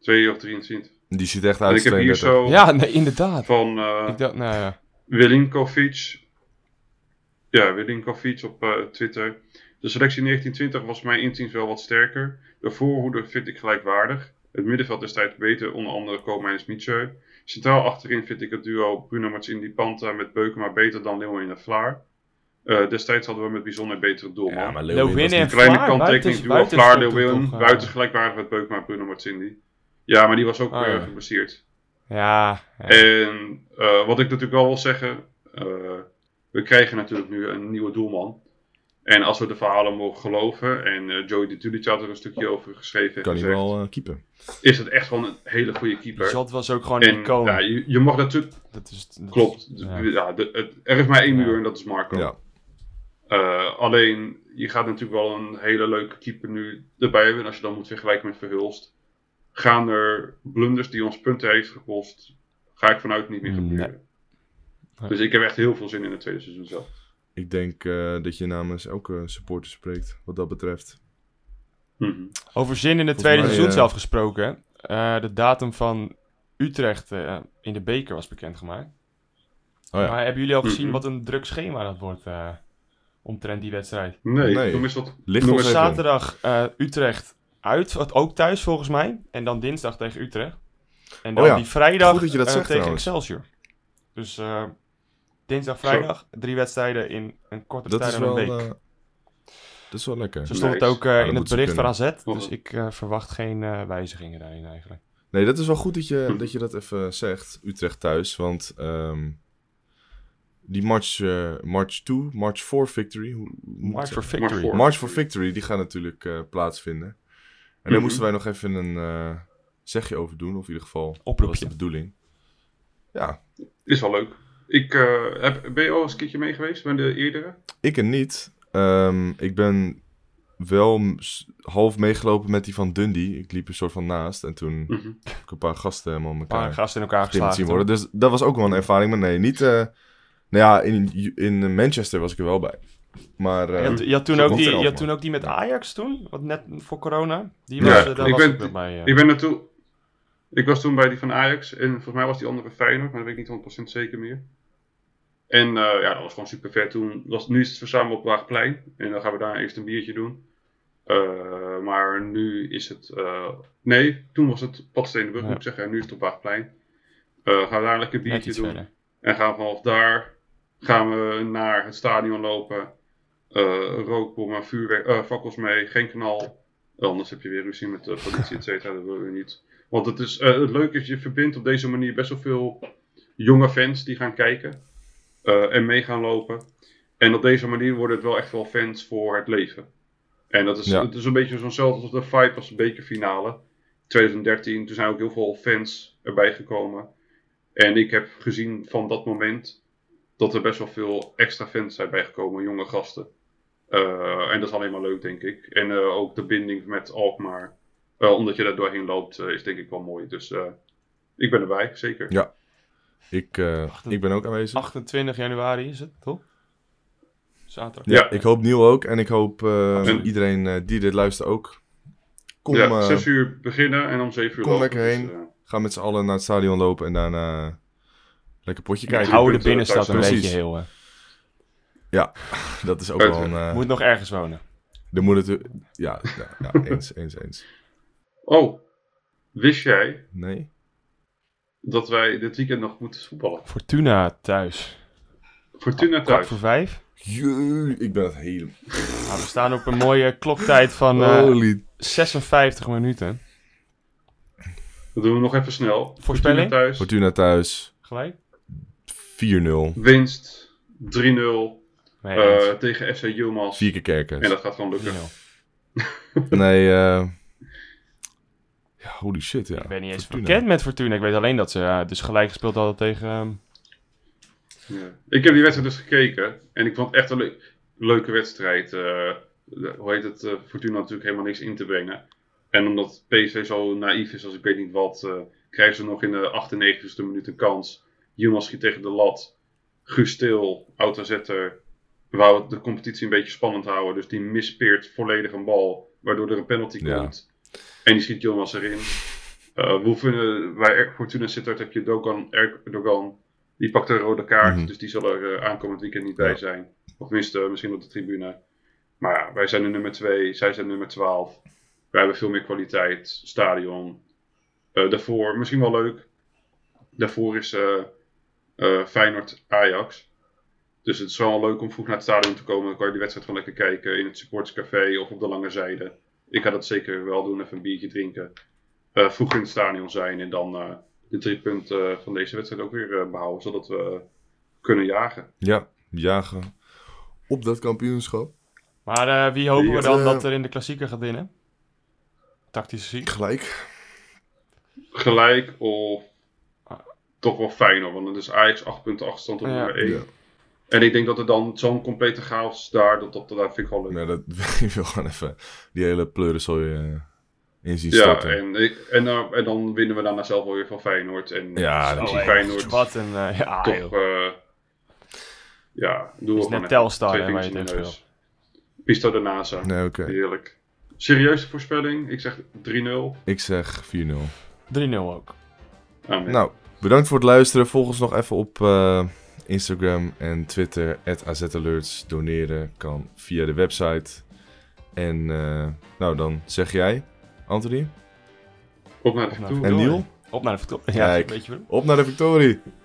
S7: 2 of 23.
S6: Die ziet echt
S7: En
S6: uit
S7: ik
S6: als
S7: heb hier
S6: 32.
S7: zo
S8: ja, nee, inderdaad.
S7: van... eh,
S8: Ik dacht, nou ja.
S7: Wilinkovic. Ja, Wilinkovic op eh, Twitter. De selectie 1920 was mijn inziens wel wat sterker. De voorhoede vind ik gelijkwaardig. Het middenveld is tijd beter, onder andere Koopmeiners Mietje. Centraal achterin vind ik het duo Bruno Martini Panta met Beukema beter dan Leeuwen en Vlaar. Eh, destijds hadden we met bijzonder betere doelman.
S6: Ja, maar Leeuwin was
S8: Leeuwin en
S6: niet-
S7: Kleine
S8: Vlaar,
S7: kanttekening,
S8: buiten-
S7: duo
S8: buiten
S7: Vlaar,
S8: stond hij
S7: Leeuwen,
S8: toch, eh,
S7: buiten gelijkwaardig met Beukema Bruno Martini. Ja, maar die was ook
S8: Ah,
S7: weer
S8: ja.
S7: geblesseerd.
S8: Ja, ja.
S7: En eh, wat ik natuurlijk wel wil zeggen, eh, we krijgen natuurlijk nu een nieuwe doelman. En als we de verhalen mogen geloven, en eh Joey de Tulic had er een stukje over geschreven en
S6: Kan hij
S7: gezegd,
S6: wel eh, keeper.
S7: is het echt gewoon een hele goede keeper.
S8: Zot was ook gewoon een
S7: en
S8: icoon.
S7: ja, je, je mag natuurlijk,
S8: dat is, dat is-
S7: klopt,
S8: ja. Mm,
S7: ja, de- het, er is maar één
S8: Ja.
S7: muur en dat is Marco.
S6: Ja.
S7: Eh, alleen, je gaat natuurlijk wel een hele leuke keeper nu erbij hebben. En als je dan moet vergelijken met Verhulst, gaan er blunders die ons punten heeft gekost, ga ik vanuit niet meer
S8: Nee.
S7: gebeuren.
S8: Nee.
S7: Dus ik heb echt heel veel zin in het tweede seizoen zelf.
S6: Ik denk eh, dat je namens elke supporter spreekt, wat dat betreft.
S8: Over zin in het tweede
S6: mij,
S8: seizoen
S6: eh,
S8: zelf gesproken. eh, de datum van Utrecht eh, in de beker was bekendgemaakt.
S6: Oh ja.
S8: Maar hebben jullie al gezien
S7: Mhm.
S8: wat een druk schema dat wordt eh, omtrent die wedstrijd?
S7: Nee,
S6: Nee.
S7: toen is dat...
S6: Ligt
S7: Noem
S6: ons
S7: eens
S6: even in.
S8: Zaterdag eh, Utrecht uit, wat ook thuis volgens mij. En dan dinsdag tegen Utrecht. En dan
S6: Oh ja,
S8: die vrijdag
S6: goed dat je dat
S8: eh,
S6: zegt
S8: tegen
S6: trouwens.
S8: Excelsior. Dus eh, dinsdag, vrijdag, drie wedstrijden in een korte
S6: Dat
S8: tijd
S6: is
S8: en een
S6: wel...
S8: week.
S6: eh, dat is wel lekker.
S8: Zo stond het
S7: Nice.
S8: ook eh,
S6: dat
S8: in
S6: moet
S8: het
S6: ze
S8: bericht van AZ.
S7: Nog
S8: Dus
S7: een.
S8: ik eh, verwacht geen eh, wijzigingen daarin eigenlijk.
S6: Nee, dat is wel goed dat je dat, je dat even zegt, Utrecht thuis. Want ehm, die March, eh, March 2, March 4 Victory... Hoe, hoe
S8: March for
S7: March
S8: Victory. Hmm.
S7: for-
S6: eh, March for Victory, die gaat natuurlijk eh, plaatsvinden. En daar
S7: Mhm.
S6: moesten wij nog even een eh, zegje over doen. Of in ieder geval, dat was
S8: Oproepje.
S6: de bedoeling. Ja,
S7: Is wel leuk. Ik, eh, heb, ben je al eens een keertje mee geweest bij de eerdere?
S6: ik en niet. Ehm, ik ben wel m- s- half meegelopen met die van Dundee. Ik liep een soort van naast. En toen
S7: Mhm.
S6: heb ik een paar gasten helemaal aan
S8: Een paar
S6: elkaar
S8: gasten in elkaar
S6: getimmerd zien
S8: geslagen.
S6: worden. Dus dat was ook wel een ervaring. Maar nee, niet... eh, nou ja, in, in Manchester was ik er wel bij. Maar...
S8: Je
S6: eh,
S8: had, je had toen
S6: Zo
S8: ook
S6: komt
S8: die,
S6: er ook,
S8: je had
S6: man.
S8: toen ook die met Ajax toen, wat net voor corona.
S6: Ja,
S8: Die was, eh, daar
S7: ik
S8: was
S7: ben-
S8: ik wel bij. eh.
S7: Ik ben naartoe. Ik was toen bij die van Ajax en volgens mij was die andere Feyenoord, maar dat weet ik niet 100% zeker meer. En eh, ja, dat was gewoon super vet toen. Was, nu is het verzamelen op Waagplein en dan gaan we daar eerst een biertje doen. Eh, maar nu is het. eh, nee, toen was het Padsteenenburg,
S8: Ja.
S7: moet ik zeggen, en nu is het op Waagplein. Eh, gaan we daar lekker
S8: net
S7: biertje
S8: iets
S7: doen.
S8: verder.
S7: En gaan we vanaf daar gaan we naar het stadion lopen. Eh rookbom en vuurwerk, eh, fakkels mee, geen knal. Anders heb je weer ruzie met de politie, et cetera. Dat willen we niet. Want het, is, eh, het leuke is, je verbindt op deze manier best wel veel jonge fans die gaan kijken eh, en mee gaan lopen. En op deze manier worden het wel echt wel fans voor het leven. En dat is,
S6: Ja.
S7: het is een beetje zo'nzelfde als de vibe als de bekerfinale 2013. Toen zijn ook heel veel fans erbij gekomen. En ik heb gezien van dat moment dat er best wel veel extra fans zijn bijgekomen, jonge gasten. Eh, en dat is alleen maar leuk, denk ik. En eh, ook de binding met Alkmaar, eh, omdat je daar doorheen loopt, eh, is denk ik wel mooi. Dus eh, ik ben erbij, zeker.
S6: Ja. Ik, eh, ik ben ook aanwezig.
S8: 28 januari is het, toch? Zaterdag.
S6: Ja,
S7: Ja.
S6: ik hoop Niel ook. En ik hoop eh,
S7: Absoluut.
S6: iedereen eh, die dit luistert ook. Kom,
S7: ja,
S6: eh,
S7: zes uur beginnen en om zeven uur
S6: kom
S7: lopen. dus, eh,
S6: lekker heen. ga met z'n allen naar het stadion lopen en daarna eh, lekker potje kijken.
S7: Hou-
S8: Oude
S7: kunt, eh,
S8: binnenstad een
S7: thuis-
S8: beetje
S6: Precies.
S8: heel. eh, hè.
S6: Dat is ook wel een... eh,
S8: Moet nog ergens wonen.
S6: er moet het... Ja, ja, ja, eens, eens, eens.
S7: eh, oh, wist jij
S6: Nee?
S7: dat wij dit weekend nog moeten voetballen?
S8: Fortuna thuis.
S6: Ah,
S7: Fortuna
S8: Kwart
S7: thuis.
S8: voor vijf.
S6: Jee, ik ben het helemaal...
S8: Nou, we staan op een mooie kloktijd van eh,
S6: Holy...
S8: 56 minuten.
S7: Dat doen we nog even snel.
S8: Voorspelling?
S7: Fortuna thuis.
S6: Fortuna thuis. 4-0.
S8: Gelijk?
S7: Winst 3-0
S8: Nee,
S7: eh,
S8: eens.
S7: tegen FC Jumas.
S6: Vier keer
S7: En
S6: kerkers.
S7: dat gaat gewoon lukken.
S8: 3-0.
S6: Nee, eh Ja, holy shit, ja.
S8: Ik ben niet eens
S6: Fortuna.
S8: bekend met Fortuna. Ik weet alleen dat ze eh, dus gelijk gespeeld hadden tegen... ehm,
S7: Ja. Ik heb die wedstrijd dus gekeken. En ik vond het echt een le- leuke wedstrijd. Eh, de- hoe heet het? eh, Fortuna had natuurlijk helemaal niks in te brengen. En omdat PSV zo naïef is als ik weet niet wat, eh, krijgen ze nog in de 98e minuut een kans. Jonas schiet tegen de lat. Guus Stil, autozetter, wou het de competitie een beetje spannend houden. Dus die mispeert volledig een bal, waardoor er een penalty
S6: Ja.
S7: komt. En die schiet Jonas erin. Eh we vinden, bij Fortuna Sittard heb je Dogan, Erdogan. Die pakt een rode kaart,
S6: Mhm.
S7: dus die zal er eh, aankomend weekend niet
S6: Ja.
S7: bij zijn. Of tenminste, eh, misschien op de tribune. Maar ja, wij zijn de nummer 2, zij zijn nummer 12. Wij hebben veel meer kwaliteit, stadion. Eh, daarvoor, misschien wel leuk. Daarvoor is eh, eh, Feyenoord Ajax. Dus het is wel leuk om vroeg naar het stadion te komen. Dan kan je die wedstrijd gewoon lekker kijken in het supporterscafé of op de lange zijde. Ik ga dat zeker wel doen, even een biertje drinken. Eh, vroeg in het stadion zijn en dan eh, de drie punten eh, van deze wedstrijd ook weer eh, behouden. Zodat we eh, kunnen jagen.
S6: Ja, jagen. Op dat kampioenschap.
S8: Maar eh, wie hopen we
S6: Die,
S8: dan
S6: eh,
S8: dat er in de klassieker gaat winnen? Tactische ziek.
S6: Gelijk.
S7: Gelijk of eh, toch wel Feyenoord. Want het is Ajax 8 punten achterstand op
S8: Ja.
S7: nummer 1.
S6: Ja.
S7: En ik denk dat er dan zo'n complete chaos daar, dat, dat, dat vind ik gewoon leuk.
S6: Nee, dat, ik wil gewoon even die hele pleurenzooi eh in zien
S7: Ja,
S6: starten.
S7: en, ik- en, dan- en dan winnen we daarna zelf wel weer van Feyenoord. En
S6: Ja,
S7: ik
S6: dat
S7: zie
S6: is-
S7: Feyenoord
S8: Wat een... eh, ja,
S7: toch...
S8: joh.
S7: eh, ja, doen we
S8: is
S7: gewoon
S8: net
S7: even.
S8: Telstar,
S7: Twee
S8: hè, waar je
S7: vingers in de
S8: tegen
S7: neus. Pisto de NASA.
S6: Nee, oké.
S7: Heerlijk. Serieuze voorspelling. Ik zeg 3-0.
S6: Ik zeg 4-0.
S8: 3-0 ook.
S7: Amen.
S6: Nou, bedankt voor het luisteren. Volg ons nog even op eh, Instagram en Twitter. AZAlerts. Doneren kan via de website. En eh, nou, dan zeg jij, Anthony.
S7: Op naar de
S8: Op
S7: toe.
S8: naar Victoria.
S6: En Niel?
S8: Op naar de Victoria. Ja,
S6: Kijk.
S8: weet je wel.
S6: Op naar de victorie.